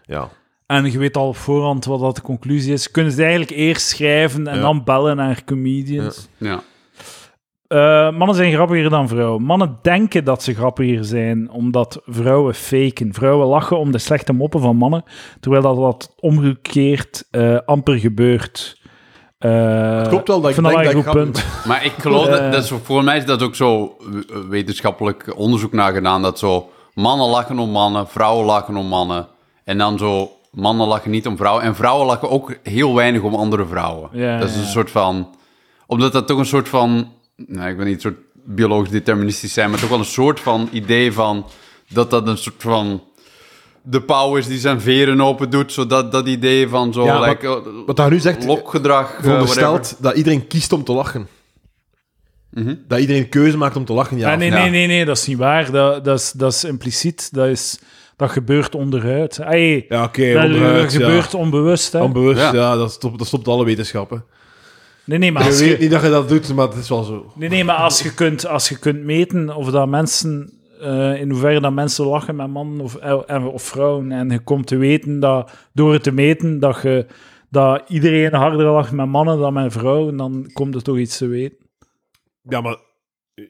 ja.
En je weet al op voorhand wat dat de conclusie is. Kunnen ze eigenlijk eerst schrijven en
Ja.
dan bellen naar comedians?
Ja.
Eh, mannen zijn grappiger dan vrouwen. Mannen denken dat ze grappiger zijn, omdat vrouwen faken. Vrouwen lachen om de slechte moppen van mannen, terwijl dat, dat omgekeerd eh, amper gebeurt. Eh,
Het klopt wel dat ik
vind
denk dat
wel
ik
een goed
grappig-
punt.
Maar ik geloof, dat,
Eh.
dat is, voor mij is dat ook zo eh, wetenschappelijk onderzoek naar gedaan, dat zo mannen lachen om mannen, vrouwen lachen om mannen. En dan zo, mannen lachen niet om vrouwen. En vrouwen lachen ook heel weinig om andere vrouwen.
Ja,
dat is
ja.
een soort van, omdat dat toch een soort van, nou, ik weet niet, een soort biologisch deterministisch zijn, maar toch wel een soort van idee van, dat dat een soort van... De pauw is die zijn veren open doet, zodat dat idee van zo,
Ja,
like, eh,
Wat daar nu zegt,
lokgedrag, eh, whatever. Mhm.
veronderstelt dat iedereen kiest om te lachen. Dat iedereen keuze maakt om te lachen, ja.
Ah,
of
nee,
ja.
nee, nee, nee, dat is niet waar. Dat, dat, is, dat is impliciet. Dat, is, dat gebeurt onderuit. Ay,
Ja, oké,
dat,
onderuit, ja.
gebeurt onbewust. Hè?
Onbewust, ja,
Ja.
dat, stopt, dat stopt alle wetenschappen.
nee, nee, maar
Je
als je-
weet niet dat je dat doet, maar het is wel zo.
Nee, nee, maar als je kunt, als je kunt meten of dat mensen, eh, in hoeverre dat mensen lachen met mannen of, eh, en- of vrouwen, en je komt te weten dat door het te meten dat, je, dat iedereen harder lacht met mannen dan met vrouwen, dan komt er toch iets te weten.
Ja, maar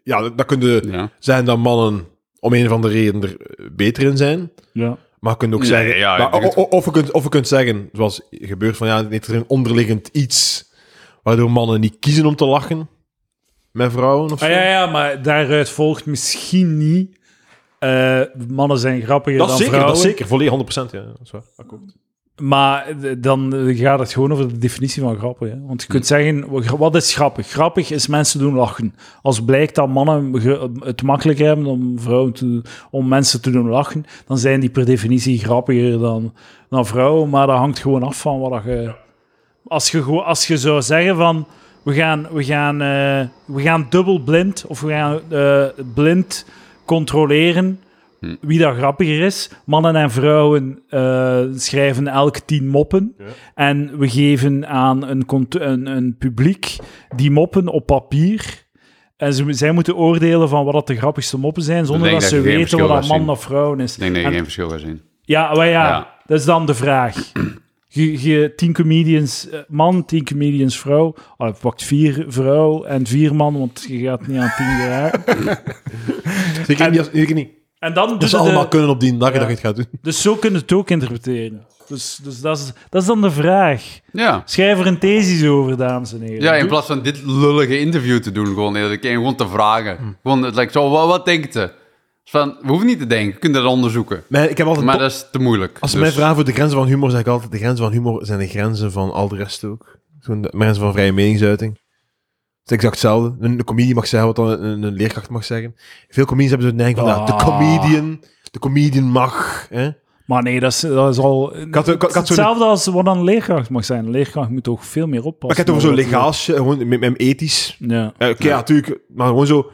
ja, dat, dat kunnen
Ja.
zijn dat mannen om een of andere reden er eh, beter in zijn.
Ja.
Maar je kunt ook
Ja,
zeggen...
ja, ik
maar-
denk
o-
het.
o- of, je kunt, of je kunt zeggen, zoals gebeurt, van ja, er is een onderliggend iets waardoor mannen niet kiezen om te lachen met vrouwen of zo.
Ah, ja, ja, maar daaruit volgt misschien niet. eh, mannen zijn grappiger
Dat
dan
is zeker,
vrouwen.
dat is zeker. Volledig 100%, ja. Dat is waar. Akkoord.
Maar eh, dan eh, gaat het gewoon over de definitie van grappen. Hè? Want je kunt zeggen, wa- gra- wat is grappig? Grappig is mensen doen lachen. Als blijkt dat mannen ge- het makkelijk hebben om, vrouwen te, om mensen te doen lachen, dan zijn die per definitie grappiger dan, dan vrouwen. Maar dat hangt gewoon af van wat je... Als je, gewoon- als je zou zeggen van, we gaan, we gaan, eh, we gaan dubbel blind, of we gaan eh, blind controleren
Hm.
wie dat grappiger is. Mannen en vrouwen eh, schrijven elk tien moppen. En we geven aan een, cont- een, een publiek die moppen op papier. En ze, zij moeten oordelen van wat dat de grappigste moppen zijn, zonder
Ik
dat,
denk
ze
dat je geen
weten wat dat
verschil
man
gaat
of vrouw is.
Ik denk dat je
En-
geen verschil gaat zien.
ja, maar ja,
Ja.
dat is dan de vraag. Je, je tien comedians eh, man, tien comedians vrouw. Oh, je pakt vier vrouw en vier man, want je gaat niet aan tien jaar.
Zeker, niet, als- zeker niet.
En dan
Dat
dus
ze allemaal kunnen op die dag dat je het gaat doen.
Dus zo kunnen het ook interpreteren. Dus, dus dat, is, dat is dan de vraag.
Ja.
Schrijf er een thesis over, dames en heren.
Ja, in plaats van dit lullige interview te doen, gewoon de hele keer, gewoon te vragen.
Hm.
Gewoon, het lijkt zo, wat, wat denkt ze? Dus Van, we hoeven niet te denken, we kunnen dat onderzoeken.
Maar ik heb altijd
Maar dat is te moeilijk.
Als ze
dus-
mij vragen voor de grenzen van humor, zeg ik altijd: de grenzen van humor zijn de grenzen van al de rest ook. Gewoon de grenzen van vrije meningsuiting. Het is exact hetzelfde. Een, een comedian mag zeggen wat dan een, een leerkracht mag zeggen. Veel comedians hebben zo de neiging van: ja, de
Ah.
comedian, de comedian mag. Hè?
Maar nee, dat is, dat is al...
had- ik had- ik had zo'n-
hetzelfde als wat een leerkracht mag zijn. Een leerkracht moet toch veel meer oppassen.
Maar ik heb het over zo
dan dat-
legaal, shit, gewoon met, met ethisch.
Ja.
Eh, Oké, ja, natuurlijk, maar gewoon zo.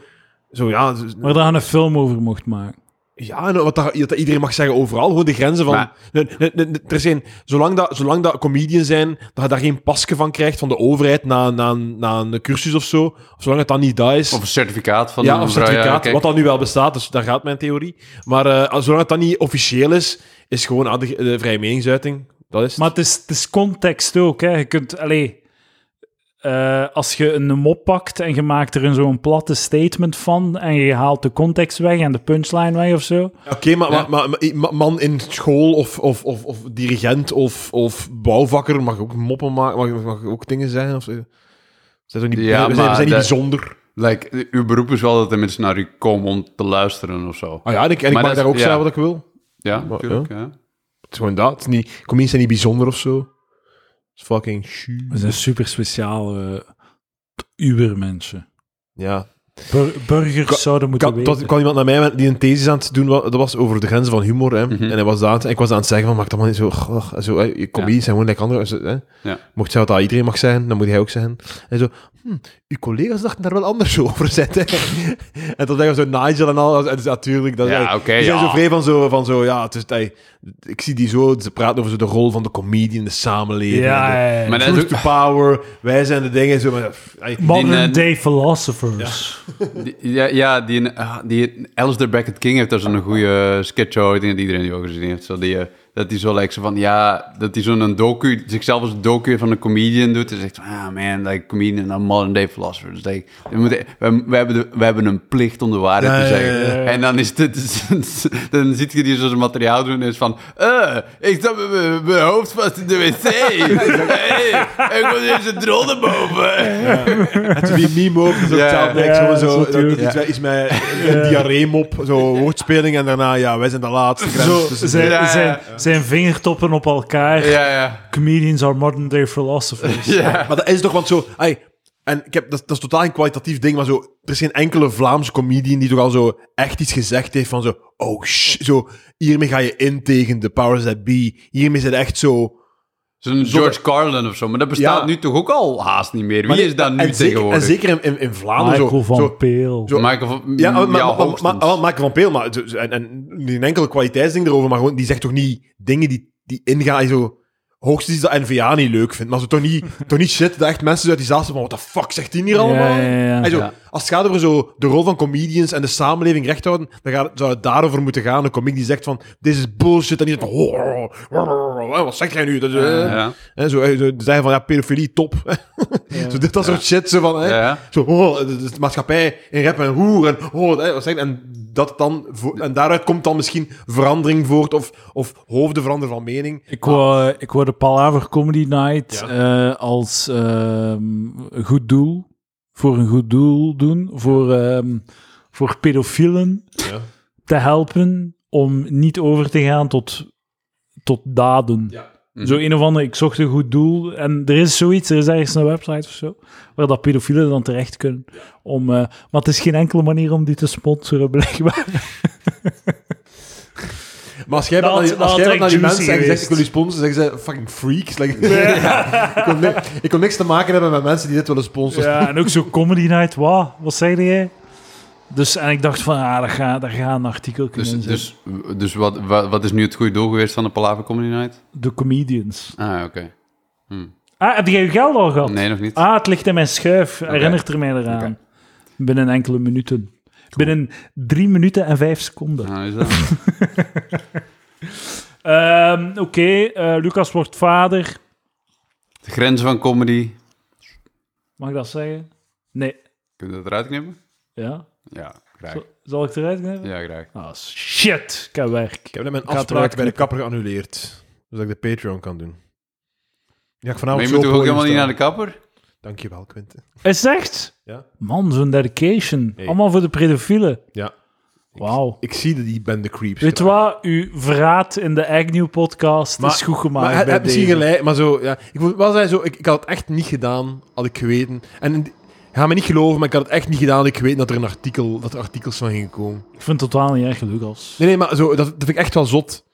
Zo ja, dus-
Maar daar een film over mocht maken.
ja en wat dat, dat iedereen mag zeggen overal. Gewoon de grenzen van.
Maar-
Nee, nee, nee, nee, er zijn, zolang, dat, zolang dat comedians zijn, dat je daar geen pasje van krijgt van de overheid na, na, na een cursus of zo. Of zolang het dan niet dat is.
Of een certificaat van
ja,
een
of
vrouw,
certificaat,
kijk.
wat dan nu wel bestaat, dus daar gaat mijn theorie. Maar eh, als- zolang het dan niet officieel is, is gewoon ah, de, de vrije meningsuiting. Dat is het.
Maar het is, het is context ook. Hè. Je kunt, allee, eh, als je een mop pakt en je maakt er een zo'n platte statement van en je haalt de context weg en de punchline weg of zo.
Oké, maar, maar, maar- maar- maar man in school of, of, of, of dirigent of, of bouwvakker mag ook moppen maken, mag, mag ook dingen zeggen. Of, zo. zijn toch niet,
Ja,
we zijn, we
maar
zijn niet
dat-
bijzonder.
Like, uw beroep is wel dat de mensen naar u komen om te luisteren of zo.
Ah ja, en ik, en ik
Maar
mag
dat-
daar ook
ja.
zeggen wat ik wil.
Ja,
Maar,
natuurlijk. Ja.
Het is gewoon dat. Het is niet, comedians zijn niet bijzonder of zo. Het is fucking shoe.
We zijn super speciaal ubermensen.
Ja.
Bur- burgers
Ka-
zouden moeten
Ka-
weten.
tot- kwam iemand naar mij met- die een thesis aan het doen wa- dat was over de grenzen van humor. Hè.
Mhm.
En hij was daar, aan het- en ik was aan het zeggen van, maak dat maar niet zo... goh, zo hè. Je comedies zijn gewoon lekker anders. Hè.
Ja.
Mocht zeggen dat dat iedereen mag zeggen, dan moet hij ook zeggen. En zo, hm, uw collega's dachten daar wel anders over, zetten. en toen zeggen we zo Nigel en al. En dus natuurlijk, dat
Ja, oké,
die zijn
ja.
zo vrij van zo, van zo ja, het is, hij- ik zie die zo, ze praten over zo de rol van de comedian in de samenleving. en
ja,
de-
ja, ja.
Maar dat is
Truth
ook-
to power, wij zijn de dingen. Zo, maar, hij-
Modern
Die, eh,
day philosophers.
Die- Ja, ja die, ah, die Alistair Beckett King heeft daar zo'n goede sketch over. Ik denk dat iedereen die ook gezien heeft. Zo die, eh, dat hij zo lijkt zo van, ja, dat hij zo'n docu, zichzelf als een docu van een comedian doet. En zegt, van, ah man, like comedian and modern day philosopher. Dus like, we, moeten, we, we hebben de- we hebben een plicht om de waarheid
Ja,
te
ja,
zeggen.
ja, ja.
En dan is dit, dan ziet je die zo zijn materiaal doen en is van, eh, ik zat met mijn- mijn hoofd vast in de wc. hey, ik was in zijn drol naar boven.
Het is die meme ook, dat is ook
Ja.
hetzelfde.
Ja,
Ik zo, zo,
dat is
dat is
natuurlijk.
iets, iets met een diarree-mop, zo woordspeling en daarna, ja, wij zijn de laatste. Dus- grens
Zo,
tussen-
zijn,
ja, ja.
zijn, zijn vingertoppen op elkaar.
Ja, ja.
Comedians are modern day philosophers.
Ja.
dus- Maar dat is toch, want zo... ai, en ik heb, dat, dat is totaal een kwalitatief ding, maar zo, er is geen enkele Vlaamse comedian die toch al zo echt iets gezegd heeft van zo, oh sh, zo, hiermee ga je in tegen de powers that be. Hiermee zit echt zo...
Zo'n George Carlin of zo. Maar dat bestaat
Ja.
nu toch ook al haast niet meer. Wie
Maar
is dat nu
en zeker, en
tegenwoordig?
zeker in, in, in Vlaanderen
Michael
zo,
van
zo
Peel.
zo-
Michael van...
Ja, maar, maar, maar, maar,
Mm, hoogstens.
maar- Michael van Peel, maar, dus- en, en niet een enkele kwaliteitsding erover, maar gewoon, die zegt toch niet dingen die, die ingaan, en zo... Hoogstens iets dat NVA niet leuk vindt, maar zo toch niet, toch niet shit dat echt mensen uit die zaal zitten van, wat de fuck zegt die hier allemaal?
Ja, ja, ja.
En zo,
Ja.
Als het gaat over zo de rol van comedians en de samenleving recht houden, dan gaat, zou het daarover moeten gaan. Een comic die zegt van, dit is bullshit, en die zegt van, "Oh, oh, oh, oh, oh, wat zeg jij nu? Dat, is, eh."
Ja.
En zo, eh, zo zeggen van, ja, pedofilie, top. zo, dit dat soort shit, zo van, hè.
Ja.
Zo, oh, de, de- de maatschappij in rap en hoer en oh, hè, wat zeg je? en dat dan vo- en daaruit komt dan misschien verandering voort of, of hoofden veranderen van mening.
Ik wou, eh, ik wou de Palaver Comedy Night
Ja.
eh, als ehm, een goed doel, voor een goed doel doen, voor, ehm, voor pedofielen
Ja.
te helpen om niet over te gaan tot, tot daden.
Mhm.
Zo een of ander, ik zocht een goed doel. En er is zoiets, er is ergens een website of zo, waar dat pedofielen dan terecht kunnen. Om, eh, maar het is geen enkele manier om die te sponsoren, blijkbaar.
Maar als jij
Dat-
wat naar die- als
dat
jij wat
had
naar die
echt
mensen
juicy
zegt, je zegt,
geweest.
ik wil je sponsoren, zeggen ze fucking freaks. Like, ik, wil ni- ik wil niks te maken hebben met mensen die dit willen sponsoren.
Ja, en ook zo Comedy Night, wat? Wat zei jij? Dus, en ik dacht van, ah, daar gaat daar ga een artikel kunnen
Dus,
zijn.
dus, dus wat, wat, wat is nu het goede doel geweest van de Palaver Comedy Night?
De comedians.
Ah, oké.
Ah, heb jij je geld al gehad?
Nee, nog niet.
Ah, het ligt in mijn schuif. Herinnert er mij eraan. Binnen enkele minuten. Binnen drie minuten en vijf seconden.
Ah, is dat?
Ehm, Oké, eh, Lucas wordt vader.
De grenzen van comedy.
Mag ik dat zeggen? Nee.
Kun je dat eruit knippen?
Ja?
Ja, graag.
Zal, zal ik het eruit nemen?
Ja, graag.
Ah, shit. Ik heb werk.
Ik heb net mijn
Ik ga het
afspraak
eruit
bij de kapper geannuleerd, zodat ik de Patreon kan doen. Ja, ik
Maar
vanavond Nou,
je
zo
moet toch
op
ook
podium
helemaal niet
staan.
naar de kapper?
Dankjewel, Quinten.
Is het echt?
Ja.
Man, zo'n dedication.
Hey.
Allemaal voor de pedofielen.
Ja.
Wauw.
Ik zie dat die ben de creeps.
Weet je wat? Uw verraad in de Agnew podcast
Maar-
is goed gemaakt.
Maar hij- hij
bij
heeft misschien
deze.
gelijk, maar zo, ja. Ik, moet wel zeggen, zo, ik, ik had het echt niet gedaan, had ik geweten. En in die- ga me niet geloven, maar ik had het echt niet gedaan, had ik geweten dat er, een artikel, dat er artikels van gingen komen.
Ik vind het totaal niet erg, Lucas.
Nee, nee, maar zo, dat, dat vind ik echt wel zot.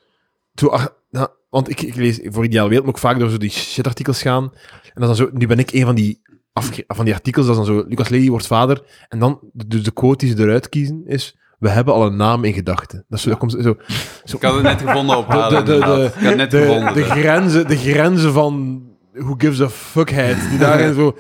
Zo, ah, ja, want ik, ik lees voor Ideaal Wereld moet ik vaak door zo die shitartikels gaan. En dat is dan zo, nu ben ik een van die, afge- van die artikels, dat is dan zo, Lucas Lely wordt vader. En dan, dus de quote die ze eruit kiezen is, we hebben al een naam in gedachten. Dat, is zo, dat komt zo,
Ik had het net gevonden op
de, de,
Haaland,
de,
inderdaad. Ik
de,
had het net
de,
gevonden.
de grenzen, de grenzen van who gives a fuckheid. Die daarin zo.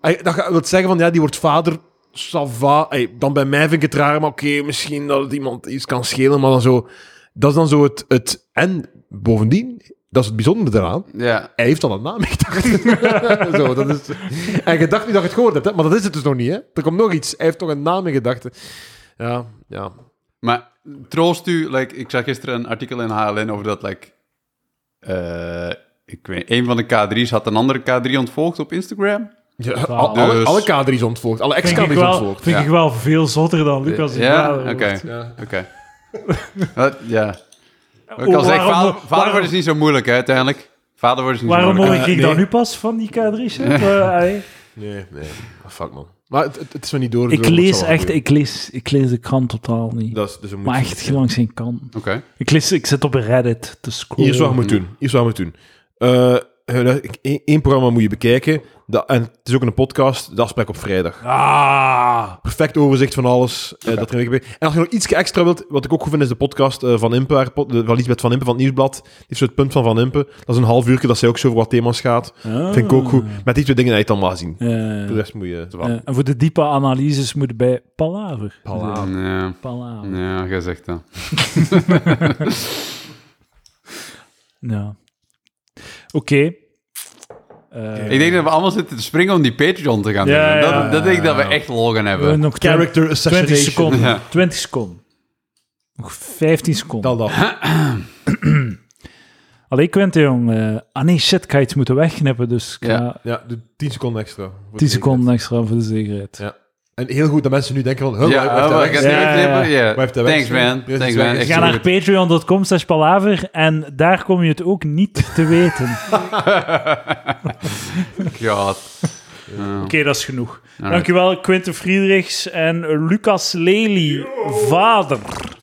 Ey, Dat ga- wil zeggen van ja, die wordt vader. Sava. dan bij mij vind ik het raar, maar oké, misschien dat het iemand iets kan schelen, maar dan zo. Dat is dan zo het. het en bovendien, dat is het bijzondere eraan.
Ja.
Hij heeft al een naam in gedachten. Zo, dat is... En je dacht niet dat je het gehoord hebt, hè? maar dat is het dus nog niet. Hè? Er komt nog iets. Hij heeft toch een naam in gedachten. Ja, ja.
Maar troost u, like, ik zag gisteren een artikel in HLN over dat, like, eh, ik weet, een van de K3's had een andere K3 ontvolgd op Instagram.
ja al- alle,
Dus-
alle K3's ontvolgd. Alle
Vind ik
ex-K3's
wel,
ontvolgd.
vind
ja.
ik wel veel zotter dan Lucas. die
ja,
vader
oké.
wordt.
Ja.
Oké. Wat? ja. Wat ik
Oh,
al zeg,
waarom-
vader, vader
waarom-
worden is niet zo moeilijk, hè, uiteindelijk. Vader worden is niet
Waarom
zo
hoor
moeilijk.
ik
Eh,
dan
nee.
nu pas van die K3-shit? Eh, allee.
Nee, nee. Ah, Fuck man. Maar het, het, het is nog niet door. dus
Ik lees echt, ik lees, ik lees de krant totaal niet.
Dat is dus een
maar echt langs geen kant.
Oké.
Ik, lees, ik zit op Reddit te scrollen.
Hier is wat je moet doen. Hier is wat je moet doen. Eh, Eén programma moet je bekijken. Dat, en het is ook een podcast. Dat afspraak op vrijdag.
Ah,
perfect overzicht van alles eh, dat er in gebeurt. En als je nog iets extra wilt, wat ik ook goed vind, is de podcast eh, van Impe, haar pod- de- van Lisbeth van Impe van het Nieuwsblad. Die heeft zo het punt van Van Impe. Dat is een half uurtje dat zij ook zo over wat thema's gaat.
Ah.
Ah. Vind ik ook goed. Met die twee dingen heb je het allemaal gezien.
Eh,
Voor de rest moet je...
Wat?
eh, en voor de diepe analyses moet je bij Palaver.
Palaver.
Ja,
Palaver.
ja, jij zegt dat.
Ja. Oké. Eh,
Ik denk dat we allemaal zitten te springen om die Patreon te gaan doen.
Ja, ja,
dat, dat denk ik dat we echt logen
we hebben
hebben.
nog twen-
Character
20
assassination.
seconden.
Ja.
20 seconden. Nog 15 seconden.
Dat, dat.
Allee, Quentin, jong. eh, ah nee, shit, ik ga iets moeten wegknippen, dus ik ga
Ja.
Ja, doe 10 seconden extra. Voor de
10
zekerheid.
seconden extra voor de zekerheid.
Ja. En heel goed dat mensen nu denken van...
Ja,
Huh, waar- waar heeft
maar
hij
ik
weg?
heb
Ja,
het niet
ja,
begrepen. Ja.
Waar heeft hij
Thanks,
weg?
man.
Precies
Thanks,
weg.
man. Echt
Ga
zo
naar
goed.
patreon.com slash palaver en daar kom je het ook niet te weten. Oké,
Ja. Ja.
dat is genoeg.
Alright.
Dankjewel, Quinten Friedrichs en Lucas Lely, vader.